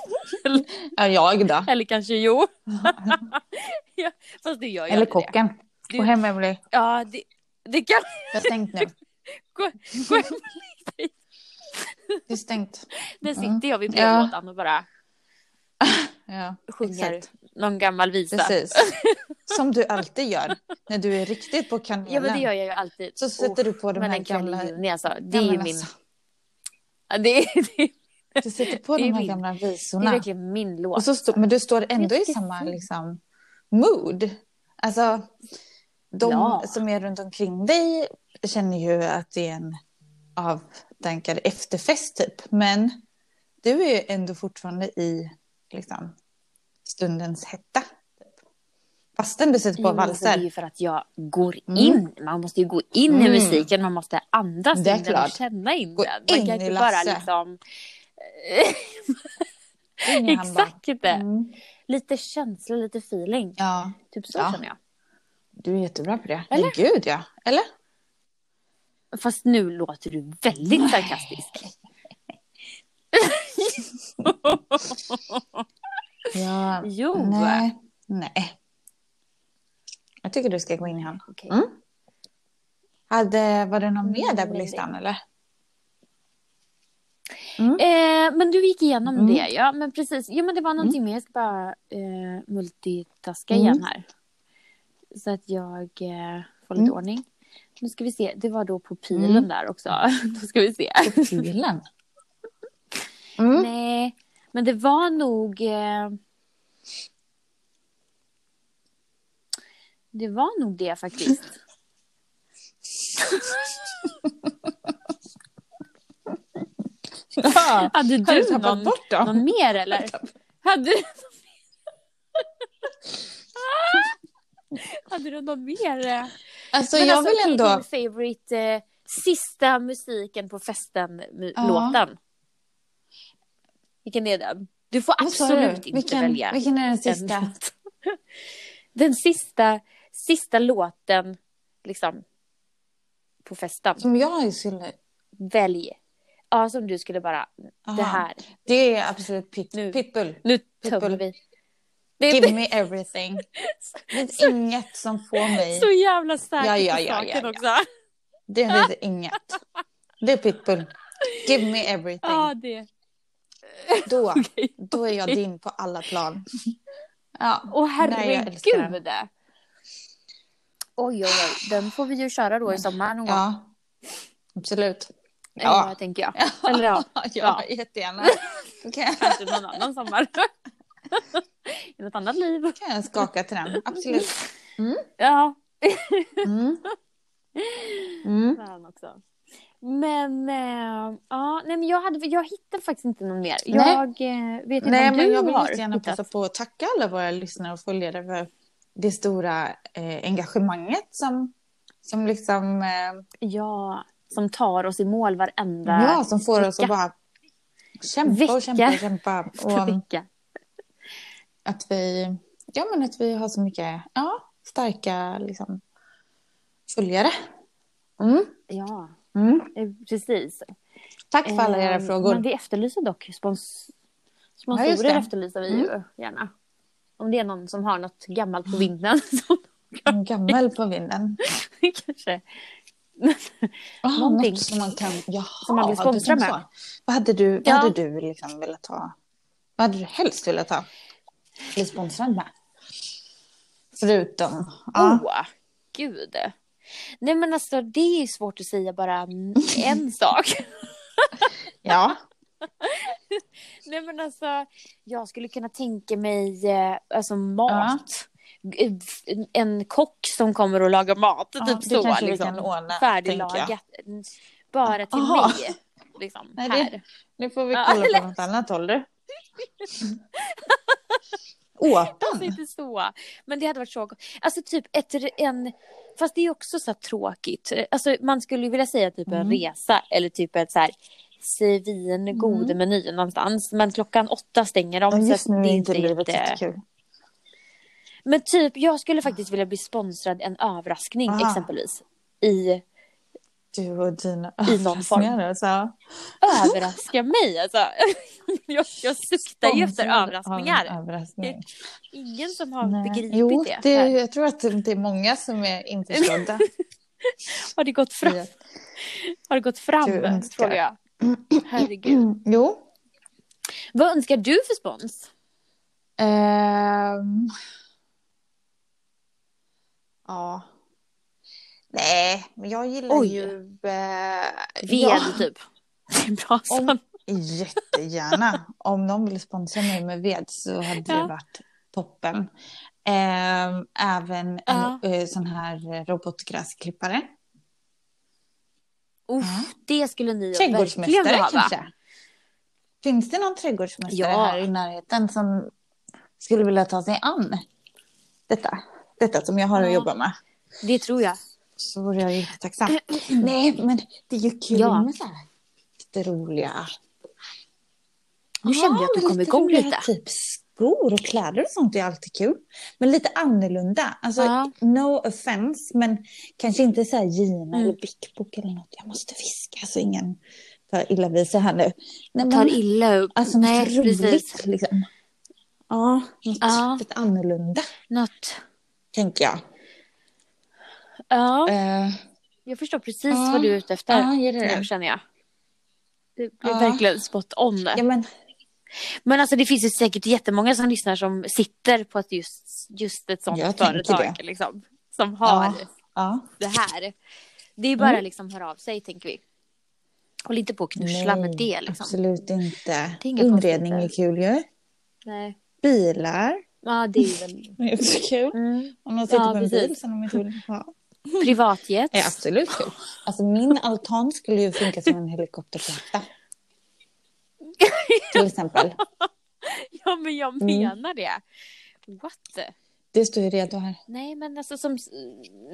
S1: ja, jag då.
S2: Eller kanske jo. ja, fast det gör ju
S1: Eller
S2: aldrig det.
S1: kocken.
S2: Du-
S1: Gå hem Emelie.
S2: Ja, det, det kan
S1: Det är stängt nu.
S2: gå, gå hem.
S1: Det är stängt.
S2: Där
S1: Mm.
S2: sitter jag vid brevlådan och bara
S1: Ja,
S2: sjunger
S1: exakt.
S2: någon gammal visa.
S1: Precis. Som du alltid gör när du är riktigt på kanalen.
S2: Ja, men det gör jag ju alltid.
S1: Så sätter du på de
S2: men
S1: här
S2: en kväll
S1: gamla...
S2: i juni alltså. Det
S1: Ja, men
S2: är ju min...
S1: alltså,
S2: Ja, Det är, det är,
S1: Du sätter på
S2: Det är
S1: de här
S2: min-
S1: gamla
S2: det är
S1: visorna.
S2: verkligen min
S1: Och
S2: låt.
S1: så stå, men du står ändå i
S2: tycker det är
S1: samma
S2: fint.
S1: liksom, mood. Alltså, de
S2: Ja.
S1: som är runt omkring dig känner ju att det är en avdankad efterfest typ. Men du är ju ändå fortfarande i liksom, stundens hetta. Typ. Fastän du sitter på
S2: Jo, men alltså, det är
S1: valser.
S2: ju för att jag går
S1: Mm.
S2: in. Man måste ju gå in
S1: Mm.
S2: i musiken, man måste andas
S1: Det är
S2: in den och
S1: klart.
S2: känna in
S1: Gå
S2: den. Man
S1: in
S2: kan
S1: i
S2: inte bara
S1: Lasse.
S2: liksom...
S1: Ingen hand bara.
S2: Exakt! typ
S1: Mm.
S2: Lite känsla, lite feeling.
S1: Ja,
S2: Typ så
S1: Ja.
S2: känner jag.
S1: du är jättebra på det.
S2: Eller?
S1: Men gud ja. Eller?
S2: Fast nu låter du väldigt
S1: Nej.
S2: sarkastisk.
S1: Ja.
S2: Jo.
S1: Nej. Nej. Jag tycker du ska gå in i hand.
S2: Okej.
S1: Mm. Hade, var det någon mer där på
S2: Mm,
S1: listan eller?
S2: Eh, men du gick igenom
S1: Mm.
S2: det, ja. Men precis. Jo, men det var någonting mer. Jag ska bara eh, multitaska
S1: Mm.
S2: igen här. Så att jag eh, får lite
S1: Mm.
S2: ordning. Nu ska vi se. Det var då på pilen
S1: Mm.
S2: där också. då ska vi se.
S1: Pilen. Mm.
S2: Nej, men det var nog... Eh, det var nog det faktiskt.
S1: Ja.
S2: Hade
S1: Har du
S2: du
S1: tappat
S2: någon,
S1: bort dem?
S2: någon mer eller? Hade du... Hade du någon mer? eh?
S1: Alltså
S2: Men
S1: jag
S2: alltså,
S1: vill
S2: okej,
S1: ändå...
S2: din favorite eh, sista musiken på
S1: Ja.
S2: festen-låten. Vilken är den? Du får
S1: Vad sa
S2: absolut
S1: du?
S2: inte
S1: vilken,
S2: välja.
S1: Vilken är den
S2: en
S1: sista?
S2: låt. Den sista, sista låten liksom på festen.
S1: Som jag skulle...
S2: Välj. Ja, som du skulle bara,
S1: Aha.
S2: det här.
S1: Det är absolut pit,
S2: Nu.
S1: pitbull.
S2: Nu tömmer
S1: Pitbull.
S2: vi. Det är
S1: Give me everything. Det finns inget som får mig.
S2: så jävla säkert
S1: Ja, ja,
S2: ja, i
S1: ja,
S2: saken
S1: ja,
S2: också.
S1: Det finns inget. Det är pitbull. Give me everything.
S2: Ja, det.
S1: Då,
S2: Okej.
S1: då är jag din på alla plan. Ja.
S2: Åh
S1: Nej, jag älskar
S2: herregud. Oj, oj, oj. Den får vi ju köra då i sommar någon gång.
S1: ja. Absolut.
S2: Ja.
S1: Ja.
S2: tänker jag. Eller ja,
S1: Ja, jättegärna. Då kan jag,
S2: kanske någon annan sommar. I något annat liv.
S1: kan jag skaka till den. Absolut.
S2: Ja,
S1: Mm. Mm.
S2: fan också. Men eh, ja, nej men jag, hade, jag hittade faktiskt inte någon mer.
S1: Nej.
S2: Jag eh, vet inte
S1: Nej,
S2: om
S1: men
S2: du
S1: jag vill
S2: har
S1: jättegärna passa på att tacka alla våra lyssnare och följare för det stora eh, engagemanget som, som liksom, eh,
S2: Ja, som tar oss i mål varenda
S1: ja, som får oss att
S2: vecka.
S1: bara kämpa och kämpa och
S2: Vecka.
S1: kämpa. Och
S2: vecka.
S1: att vi, ja, men att vi har så mycket ja, starka liksom, följare. Mm.
S2: Ja,
S1: Mm.
S2: eh, precis.
S1: Tack för alla era
S2: Eh, Men
S1: frågor.
S2: vi efterlyser dock spons
S1: Ja, just
S2: sponsorer.
S1: det. Mm.
S2: efterlyser vi ju gärna. Om det är någon som har något gammalt på vinden. Så
S1: En gammel på vinden.
S2: kanske.
S1: Oh,
S2: Någonting.
S1: något som man kan... Jaha,
S2: Som man vill
S1: du
S2: sponsra
S1: tänker
S2: med.
S1: så. Vad hade du, vad
S2: Ja.
S1: hade du liksom velat ha? Vad hade du helst velat ha? Bli sponsrad med? Förutom... Ja.
S2: Åh, gud. Nej men alltså det är svårt att säga bara en sak.
S1: ja.
S2: Typ Nej men alltså, jag skulle kunna tänka mig eh, alltså mat. G- En kock som kommer och lagar mat.
S1: Ja,
S2: typ
S1: det
S2: så
S1: kanske vi
S2: liksom.
S1: kan ordna, tänker
S2: Färdiglagat. Bara till
S1: Aha.
S2: mig. Liksom,
S1: Nej, det-
S2: här.
S1: Nu får vi
S2: Ja,
S1: kolla på något annat håll du.
S2: Alltså
S1: Åtan?
S2: inte så. Men det hade varit så gott. Alltså typ ett, en... Fast det är också så här tråkigt. Alltså man skulle ju vilja säga typ en
S1: Mm.
S2: resa eller typ ett så här svingod
S1: Mm.
S2: meny någonstans. Men klockan åtta stänger de.
S1: Men
S2: så
S1: just
S2: att
S1: nu
S2: det
S1: Alltså, är inte livet
S2: jätte-
S1: jättekul.
S2: Men typ, jag skulle
S1: Ah.
S2: faktiskt vilja bli sponsrad en överraskning
S1: Aha.
S2: exempelvis. I
S1: Du och dina
S2: I någon form.
S1: överraskningar, alltså.
S2: överraska mig alltså. Jag, jag suktar ju efter
S1: Sponsrad av en
S2: överraskningar.
S1: Överraskning.
S2: Ingen som har
S1: Nej.
S2: begripit
S1: jo,
S2: det.
S1: det. Jag tror att det är många som är införstådda.
S2: Har det gått fram?
S1: i att-
S2: Har det gått fram?
S1: Du önskar.
S2: Frågar jag. Herregud.
S1: Jo.
S2: Vad önskar du för spons?
S1: Ehm. Ja. Nej, men jag gillar
S2: Oj.
S1: ju... Eh,
S2: Ved,
S1: ja,
S2: typ. Det är en bra sån.
S1: jättegärna. Om någon vill sponsra mig med ved så hade
S2: Ja.
S1: det varit toppen. Ehm, även
S2: Ja.
S1: en eh, sån här robotgräsklippare.
S2: Uff, Mm. det skulle ni verkligen
S1: Trädgårdsmästare
S2: vilja ha, va?
S1: kanske? Finns det någon trädgårdsmästare
S2: Ja.
S1: här i närheten som skulle vilja ta sig an detta? Detta som jag har
S2: Ja.
S1: att jobba med.
S2: Det tror jag.
S1: Så vore jag jättetacksam. Nej, men det är ju kul
S2: Ja.
S1: med så här lite roliga...
S2: Nu kände jag att du
S1: men
S2: kom igång
S1: roliga
S2: lite.
S1: Typ skor och kläder och sånt är alltid kul. Men lite annorlunda. Alltså,
S2: Ja.
S1: no offense, men kanske inte så här Gina
S2: Mm.
S1: eller Big Book eller något. Jag måste viska så ingen tar illa vid sig här nu. Nej, men,
S2: Tar illa upp.
S1: alltså, något
S2: Nej,
S1: roligt
S2: precis.
S1: liksom. Ja, något
S2: Ja.
S1: lite annorlunda,
S2: Något.
S1: tänker jag.
S2: Ja.
S1: Eh,
S2: Jag förstår precis
S1: Ja.
S2: vad du är ute efter.
S1: Ja, gör det
S2: Nu
S1: det.
S2: känner jag. Det blir
S1: Ja.
S2: verkligen spot on.
S1: Ja, men
S2: Men alltså det finns ju säkert jättemånga som lyssnar som sitter på ett just, just ett sånt
S1: Jag tänker
S2: företag. Liksom, som har
S1: Ja. ja.
S2: det här. Det är bara
S1: Mm.
S2: liksom höra av sig tänker vi. Håll inte på och knussla
S1: Nej,
S2: med det liksom.
S1: absolut inte.
S2: Det är inga
S1: Inredning är
S2: konstigheter.
S1: kul ju.
S2: Nej.
S1: Bilar.
S2: Ja det är väl.
S1: Det är också kul.
S2: Mm.
S1: Om de sitter
S2: Ja,
S1: på en
S2: precis.
S1: bil som de inte vill ha.
S2: Privatjet.
S1: är absolut kul. Alltså min altan skulle ju funka som en helikopterplatta. Till exempel.
S2: Ja men jag
S1: Mm.
S2: menar det. What?
S1: Det står ju redo här.
S2: Nej, men alltså som,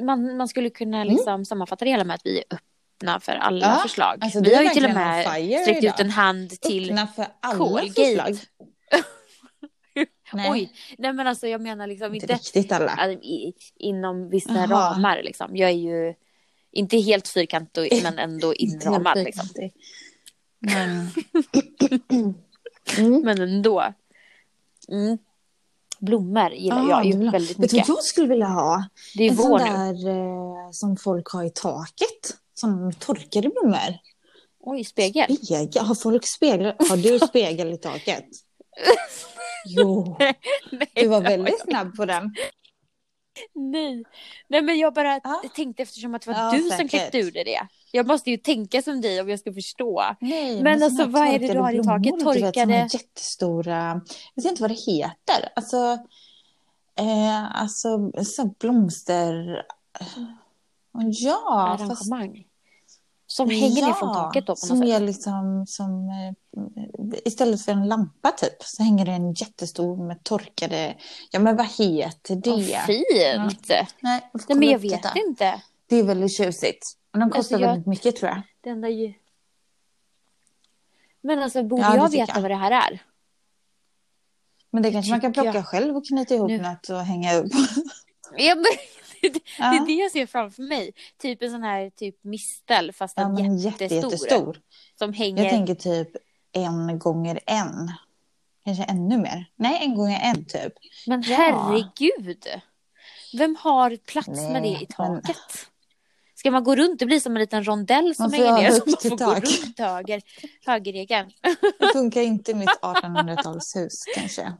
S2: man, man skulle kunna liksom sammanfatta det hela med att vi är öppna för alla
S1: Mm. Ja,
S2: förslag.
S1: alltså
S2: vi
S1: det är
S2: har ju till och
S1: verkligen
S2: med
S1: on fire
S2: sträckt
S1: idag.
S2: ut en hand till...
S1: Öppna för alla
S2: Colgate.
S1: förslag. Nej,
S2: Oj, nej men alltså jag menar liksom
S1: inte
S2: inte
S1: riktigt alla.
S2: alltså, i, inom vissa
S1: Jaha.
S2: ramar liksom. Jag är ju inte helt fyrkantig men ändå
S1: Inte helt
S2: inramad liksom.
S1: fyrkantig. Men... Mm.
S2: Men ändå. Mm. Blommor gillar
S1: Ah,
S2: jag
S1: du
S2: ju
S1: vill ha-
S2: väldigt
S1: Vet du
S2: mycket.
S1: vad jag skulle vilja ha?
S2: Det är
S1: en sån
S2: vår nu.
S1: där eh, som folk har i taket. Som torkade blommor.
S2: Oj, spegel.
S1: Spegel? Har folk spegel? Har du spegel i taket? Jo,
S2: Nej,
S1: du var
S2: det har
S1: väldigt snabb på den.
S2: Nej. Nej, men jag bara
S1: Ja.
S2: tänkte eftersom att det var
S1: Ah. Ja,
S2: du som
S1: säkert.
S2: klippte ur dig det. Jag måste ju tänka som dig om jag ska förstå.
S1: Nej,
S2: Men alltså,
S1: såna
S2: vad är det du
S1: torkade
S2: har i taket?
S1: blommor, du vet, såna
S2: Torkade-
S1: jättestora... Jag vet inte vad det heter. Alltså, eh, alltså så blomster... eh, Ja, fast
S2: Arrangemang. Som hänger ner från taket då på
S1: som
S2: något sätt.
S1: är liksom som... eh, Istället för en lampa typ så hänger det en jättestor med torkade... Ja men vad heter det?
S2: Vad fint!
S1: Nej, jag får
S2: Nej, men
S1: kolla
S2: jag
S1: upp
S2: vet
S1: detta.
S2: inte.
S1: Det är väldigt tjusigt. Och de kostar
S2: Alltså, jag-
S1: väldigt mycket tror jag.
S2: Den där ju... Men alltså, borde
S1: Ja, det
S2: jag
S1: tycker
S2: veta
S1: jag.
S2: vad det här är?
S1: Men det kanske man kan
S2: tycker
S1: plocka själv och knyta ihop
S2: Nu.
S1: något och hänga upp.
S2: Ja, men, det,
S1: Ja.
S2: det är det jag ser framför mig. Typ en sån här typ mistel, fast
S1: Ja,
S2: en
S1: men jätte,
S2: jättestor.
S1: jättestor.
S2: Som hänger...
S1: Jag tänker typ en gånger en. Kanske ännu mer. Nej, en gånger en typ.
S2: Men
S1: Ja.
S2: herregud! Vem har plats med det i
S1: Nej, men-
S2: taket? Ska man gå runt? Det blir som en liten rondell som
S1: Man får
S2: hänger
S1: ha
S2: ner. Så
S1: högt
S2: man
S1: i
S2: får gå
S1: tak.
S2: runt höger, högerregeln.
S1: Det funkar inte i mitt 1800-talshus kanske.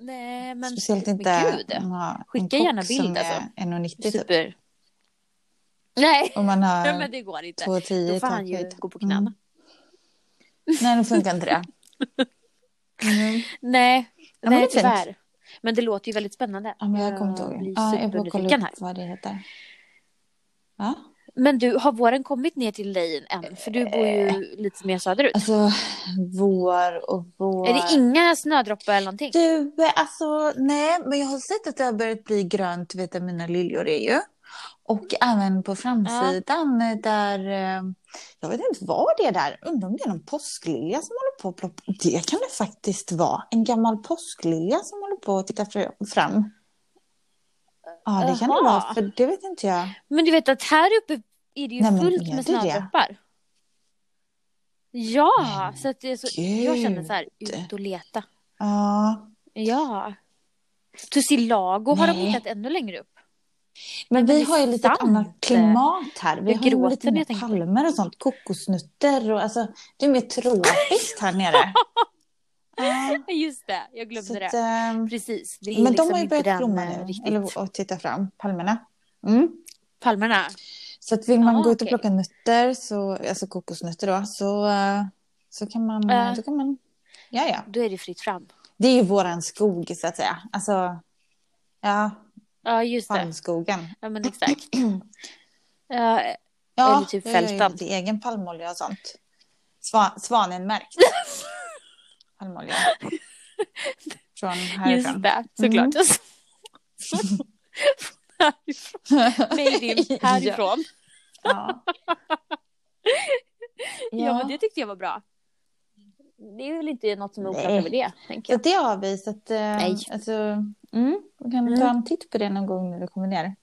S2: Nej, men,
S1: Speciellt inte...
S2: men gud.
S1: om man har en
S2: Skicka
S1: kock
S2: gärna bild,
S1: som är
S2: alltså.
S1: 1,90 typ.
S2: Super. Nej,
S1: Om man har
S2: nej, men det går inte.
S1: 2,10
S2: Då
S1: i
S2: får han ju
S1: takhöjd.
S2: gå på knäna.
S1: Mm. Nej, det funkar inte det. Mm.
S2: Nej,
S1: Ja, men
S2: nej
S1: det är fint.
S2: tyvärr. Men det låter ju väldigt spännande.
S1: Ja, men jag kommer inte
S2: blir
S1: ihåg. Ja, jag får kolla
S2: supernyfiken här.
S1: upp vad det heter. Ja.
S2: Men du, har våren kommit ner till dig än? För du bor
S1: Eh.
S2: ju lite mer söderut.
S1: Alltså, vår och vår.
S2: Är det inga snödroppar eller någonting?
S1: Du, alltså nej, men jag har sett att det har börjat bli grönt, vet jag, mina liljor är ju. Och även på framsidan eh, där, eh, jag vet inte vad det är där, undrar om det är någon påsklilja som håller på att ploppa. Det kan det faktiskt vara, en gammal påsklilja som håller på att titta fr- fram. Ja, det kan det
S2: Jaha.
S1: vara, för det vet inte jag.
S2: Men du vet att här uppe är det ju
S1: Nej, men
S2: fullt
S1: är
S2: med
S1: det det?
S2: snödroppar. Ja,
S1: Men
S2: så att det är så,
S1: gud.
S2: jag känner så här, ut och leta.
S1: Ja,
S2: Ja. Tussilago har de
S1: Nej.
S2: hittat ännu längre upp.
S1: men
S2: men
S1: vi
S2: det är
S1: har ju lite
S2: sant.
S1: annat klimat här. Vi
S2: Jag
S1: har ju
S2: gråter
S1: lite
S2: när
S1: mer
S2: jag tänker på
S1: palmer och sånt, kokosnötter och alltså, det är mer tropiskt här nere. Ja.
S2: Ja, Just det, jag glömde
S1: Så att,
S2: det.
S1: ehm,
S2: Precis. Det är
S1: men
S2: liksom
S1: de har ju
S2: inte
S1: börjat
S2: den,
S1: blomma
S2: eh,
S1: nu,
S2: riktigt.
S1: eller och titta fram, palmerna. Mm.
S2: Palmerna.
S1: Så att vill man
S2: Ah,
S1: gå ut och
S2: okej.
S1: plocka nötter, så, alltså kokosnötter då, så, eh, så kan man...
S2: Eh.
S1: Då kan man ja, ja.
S2: Då är det fritt fram.
S1: Det är ju våran skog, så att säga. Alltså, ja,
S2: Ja, just det.
S1: palmskogen.
S2: Ja, men exakt. Ja,
S1: Ja,
S2: Eller typ
S1: jag gör ju
S2: fältan.
S1: lite egen palmolja och sånt. Sva, svanenmärkt. palmolja. Från
S2: just
S1: härifrån.
S2: det,
S1: Mm.
S2: såklart. härifrån. Made in härifrån.
S1: Ja.
S2: Ja. men det tyckte jag var bra. Det är väl inte något som är oklart
S1: Nej.
S2: över det, tänker
S1: Så
S2: jag.
S1: det har vi. Så att, eh,
S2: Nej.
S1: Alltså, mm, vi kan ta en titt på det någon gång när du kommer ner.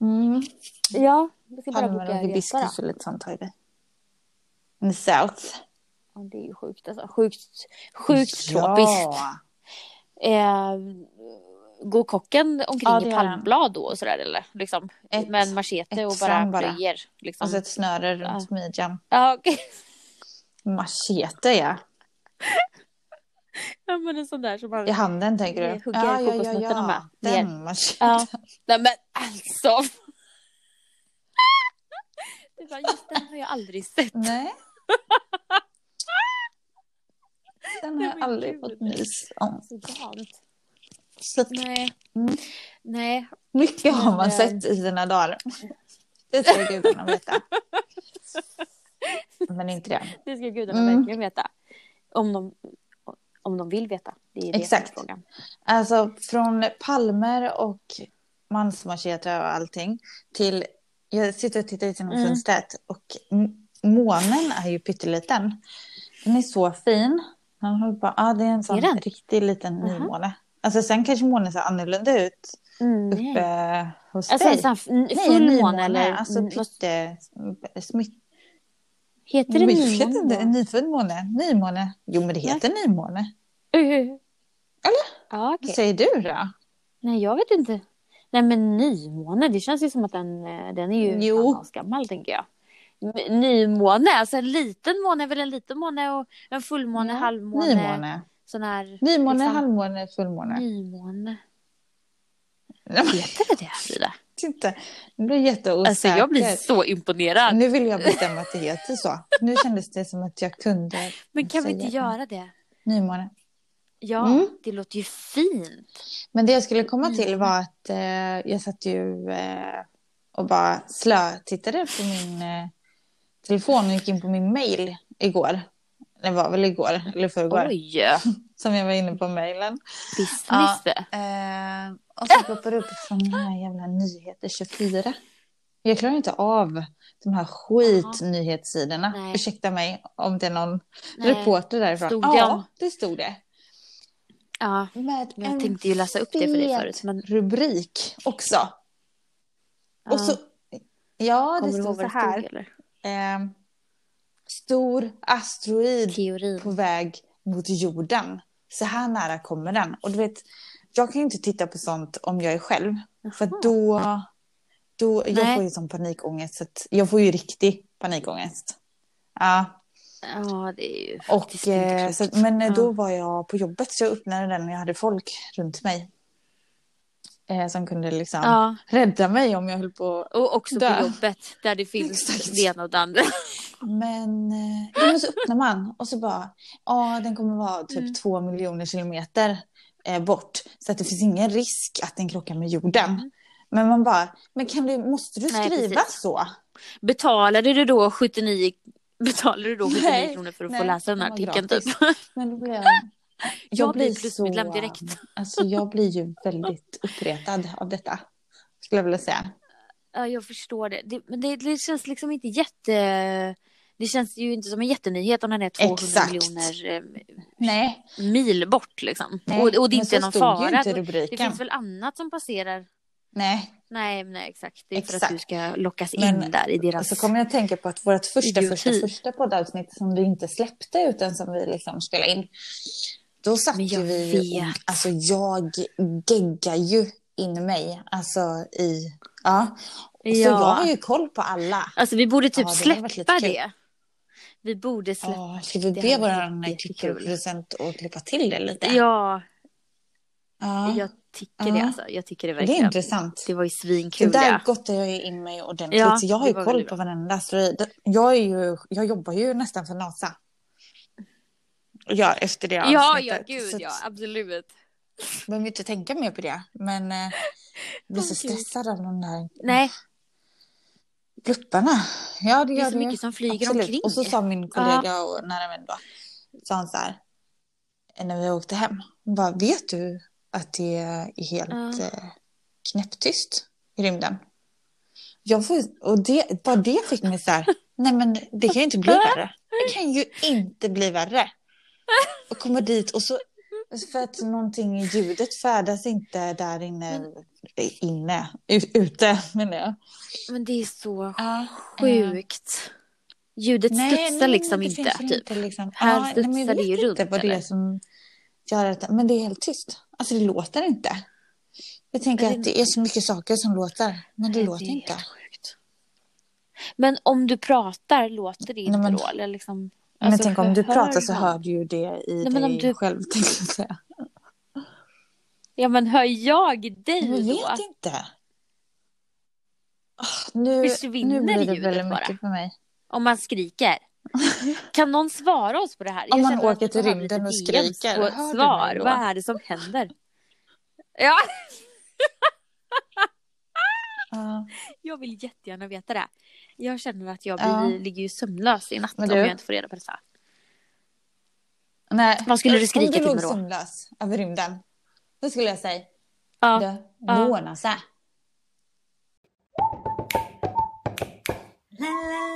S1: Mm,
S2: Ja, vi ska bara
S1: palmer
S2: boka
S1: och
S2: en resa då.
S1: hibiskus och lite sånt har vi. In the south.
S2: Ja, Det är ju sjukt alltså. Sjukt, sjukt
S1: Ja.
S2: tropiskt. Eh, går kocken omkring
S1: Ja, det
S2: i
S1: gör han.
S2: palmblad då och sådär eller? Liksom,
S1: Ett-
S2: med en machete
S1: ett
S2: och
S1: fram
S2: bara
S1: bara.
S2: plöjer. Liksom.
S1: Och så ett snöre runt midjan.
S2: Ja, okej.
S1: Machete ja.
S2: Ja, men en sån där som man...
S1: I handen tänker
S2: Eh,
S1: du?
S2: hugger kokosnötterna bara ner.
S1: Den macheten.
S2: Ja. Nej men alltså. Det var just den har jag aldrig sett.
S1: Nej. Den har
S2: Nej,
S1: jag
S2: men
S1: aldrig
S2: gud.
S1: fått nys om.
S2: Så galet.
S1: Så att
S2: Nej.
S1: Mm.
S2: Nej.
S1: mycket har man
S2: Men-
S1: sett i sina dagar. Det ska gudarna veta. Men inte det.
S2: Det ska gudarna
S1: Mm.
S2: verkligen veta. Om de, om de vill veta. Det är det som är
S1: Exakt.
S2: frågan.
S1: Alltså från palmer och mansmachete och allting till... Jag sitter och tittar ut genom
S2: Mm.
S1: fönstret och m- månen är ju pytteliten. Den är så fin. Han håller på, ah, det är en sån
S2: Är den?
S1: riktig liten
S2: Jaha.
S1: nymåne. Alltså sen kanske månen ser annorlunda ut
S2: Mm,
S1: uppe
S2: nej.
S1: hos
S2: Alltså en
S1: dig.
S2: sån här f-
S1: Nej,
S2: full måne
S1: nymåne,
S2: eller
S1: Alltså
S2: n- vad
S1: pytte... Smitt,
S2: heter det
S1: jag vet
S2: nymåne?
S1: inte, en nyfödd måne. Nymåne. Jo, men det heter nymåne.
S2: Eller? Ja, okej.
S1: Vad säger du då?
S2: Nej, jag vet inte. Nej, men nymåne, det känns ju som att den, eh, den är ju
S1: Jo.
S2: fan gammal, tänker jag. M- Nymåne, alltså en liten måne är väl en liten måne och en fullmåne,
S1: Ja,
S2: halvmåne,
S1: Nymåne.
S2: sån här
S1: Nymåne,
S2: Liksom-
S1: halvmåne, fullmåne.
S2: nymåne.
S1: Nej, men,
S2: Heter det det, Frida?
S1: titta. Nu blir jag jätteosäker.
S2: Alltså jag blir så imponerad.
S1: Nu vill jag bestämma att det heter så. Nu kändes det som att jag kunde
S2: Men kan vi inte
S1: säga
S2: göra det?
S1: nymåne.
S2: Ja,
S1: Mm.
S2: det låter ju fint. Mm.
S1: Men det jag skulle komma till var att eh, jag satt ju eh, och bara slötittade på min eh, telefon och gick in på min mail igår. Det var väl igår, eller förrgår,
S2: Oj!
S1: som jag var inne på mailen.
S2: Visst,
S1: Ja.
S2: visst det.
S1: Eh, och
S2: Äh!
S1: så poppar det upp från den här jävla Nyheter 24. Jag klarar inte av de här skitnyhetssidorna.
S2: Nej.
S1: Ursäkta mig om det är någon
S2: Nej.
S1: reporter därifrån.
S2: Stod
S1: ja,
S2: jag?
S1: det stod det.
S2: Ja.
S1: Med
S2: Jag
S1: en
S2: tänkte ju läsa upp det för dig
S1: fet
S2: förut, men-
S1: rubrik också.
S2: Ja.
S1: Och så... Ja, det
S2: Kommer du ihåg
S1: stod så
S2: vad det stod
S1: här.
S2: eller?
S1: Eh, stor asteroid
S2: Teorin.
S1: på väg mot jorden. Så här nära kommer den. Och du vet, jag kan ju inte titta på sånt om jag är själv. För att då, då jag
S2: Nej.
S1: får ju sån panikångest. Så att jag får ju riktig panikångest. Ja,
S2: Ja, det är ju faktiskt
S1: och,
S2: inte
S1: eh,
S2: klokt.
S1: så, att- men eh, då
S2: Ja.
S1: var jag på jobbet så jag öppnade den och jag hade folk runt mig. Eh, som kunde liksom
S2: Ja,
S1: rädda mig om jag höll på.
S2: och också
S1: Där.
S2: på jobbet där det finns
S1: Exakt.
S2: det ena och det andra.
S1: Men, eh, ja, men så öppnar man och så bara, ja den kommer vara typ
S2: Mm.
S1: två miljoner kilometer eh, bort. Så att det finns ingen risk att den krockar med jorden. Men man bara, men kan du, måste du
S2: Nej,
S1: skriva
S2: precis.
S1: så?
S2: Betalade du då 79, betalade du då 79
S1: Nej,
S2: kronor för att
S1: nej,
S2: få läsa den
S1: den
S2: här
S1: var
S2: artikeln? Typ?
S1: gratis. Men då blir jag,
S2: Jag blir plusmedlem direkt.
S1: Alltså jag blir ju väldigt uppretad av detta. Skulle jag vilja säga.
S2: Ja, jag förstår det. det men det, det känns liksom inte jätte... Det känns ju inte som en jättenyhet om den är 200
S1: Exakt.
S2: miljoner eh,
S1: Nej.
S2: mil bort. Liksom.
S1: nej.
S2: och, och det
S1: men
S2: inte är
S1: så
S2: någon
S1: stod Ju
S2: fara.
S1: inte
S2: Det
S1: rubriken.
S2: finns väl annat som passerar?
S1: Nej.
S2: Nej, nej exakt. Det är för
S1: Exakt.
S2: att du ska lockas in
S1: Men-
S2: där i
S1: Och
S2: deras...
S1: så kommer jag att tänka på att vårt första, första,
S2: Idioti.
S1: första poddavsnitt som vi inte släppte utan som vi liksom spelade in. Då satt
S2: Men
S1: ju
S2: jag
S1: vi och,
S2: vet.
S1: alltså jag geggar ju in mig, alltså i, ja. Så jag har ju koll på alla.
S2: Alltså vi borde typ
S1: Ja, det hade varit lite
S2: släppa
S1: kul.
S2: det. Vi borde släppa
S1: Ja, ska vi
S2: det
S1: be
S2: hade varit
S1: vår
S2: jättekul.
S1: kulturproducent att klippa till det lite?
S2: Ja,
S1: Ja,
S2: jag tycker det
S1: Ja.
S2: alltså. Jag tycker det
S1: det är
S2: verkligen. Det,
S1: intressant.
S2: var ju
S1: Det
S2: svinkul
S1: där
S2: det.
S1: gottade jag ju in mig ordentligt.
S2: Ja,
S1: jag har
S2: det
S1: ju
S2: var
S1: koll
S2: väldigt
S1: på varenda asteroid. Jag, är ju, jag jobbar ju nästan för NASA. Ja, efter det
S2: Ja, ja,
S1: avsnittet.
S2: gud
S1: Så att-
S2: ja, absolut.
S1: Jag behöver inte tänka mer på det. Men eh, jag blir så
S2: Åh, gud.
S1: stressad av de där
S2: Nej,
S1: plupparna. Ja, det
S2: det
S1: gör
S2: är så
S1: det ju.
S2: mycket som flyger
S1: Absolut.
S2: omkring.
S1: Och så sa min kollega och nära vän då. Sa han så här. När vi åkte hem. Hon bara, vet du att det är helt
S2: Ja.
S1: eh, knäpptyst i rymden? Jag får, och det, bara det fick mig så här. Nej men det kan ju inte bli värre. Det kan ju inte bli värre. Och komma dit och så. För att någonting i ljudet färdas inte där inne. Inne. ut- Ute menar jag.
S2: Men det är så
S1: Ja, eh,
S2: sjukt. Ljudet studsar liksom
S1: det
S2: inte.
S1: finns väl
S2: Typ.
S1: Inte, liksom.
S2: Här
S1: Ja, nej, men jag
S2: studsar det ju
S1: vet inte
S2: runt,
S1: Vad det är
S2: eller?
S1: som gör att, men det är helt tyst. Alltså det låter inte. Jag tänker
S2: Men det-
S1: att det är så mycket saker som låter, men det
S2: Nej,
S1: låter
S2: är helt
S1: inte.
S2: sjukt. Men om du pratar, låter det inte
S1: men-
S2: då? Eller liksom,
S1: Men
S2: alltså,
S1: tänk om du
S2: hör
S1: pratar så
S2: man?
S1: hör du ju det i
S2: Nej,
S1: dig
S2: men om du-
S1: själv. tänkte jag säga.
S2: Ja, men hör jag dig
S1: Men Jag
S2: då?
S1: vet inte. Ah, nu,
S2: Försvinner
S1: nu blir det
S2: ljudet
S1: väldigt
S2: bara?
S1: mycket för mig.
S2: Om man skriker. Kan någon svara oss på det här?
S1: Om
S2: Jag
S1: man
S2: känner att
S1: åker
S2: vi
S1: till
S2: behöver lite
S1: rymden och
S2: DMs
S1: skriker,
S2: på
S1: hör du mig
S2: Svar,
S1: då?
S2: vad är det som händer? Ja,
S1: Ja,
S2: jag vill jättegärna veta det. Jag känner att jag
S1: Ja.
S2: blir, ligger ju sömnlös i natt
S1: Men
S2: om
S1: du-
S2: jag inte får reda på detta.
S1: nej.
S2: Vad skulle du skrika
S1: Om du
S2: till
S1: låg
S2: mig då?
S1: sömnlös över rymden, då skulle jag säga
S2: Ja.
S1: det, det
S2: Ja.
S1: ordnar sig.
S3: La la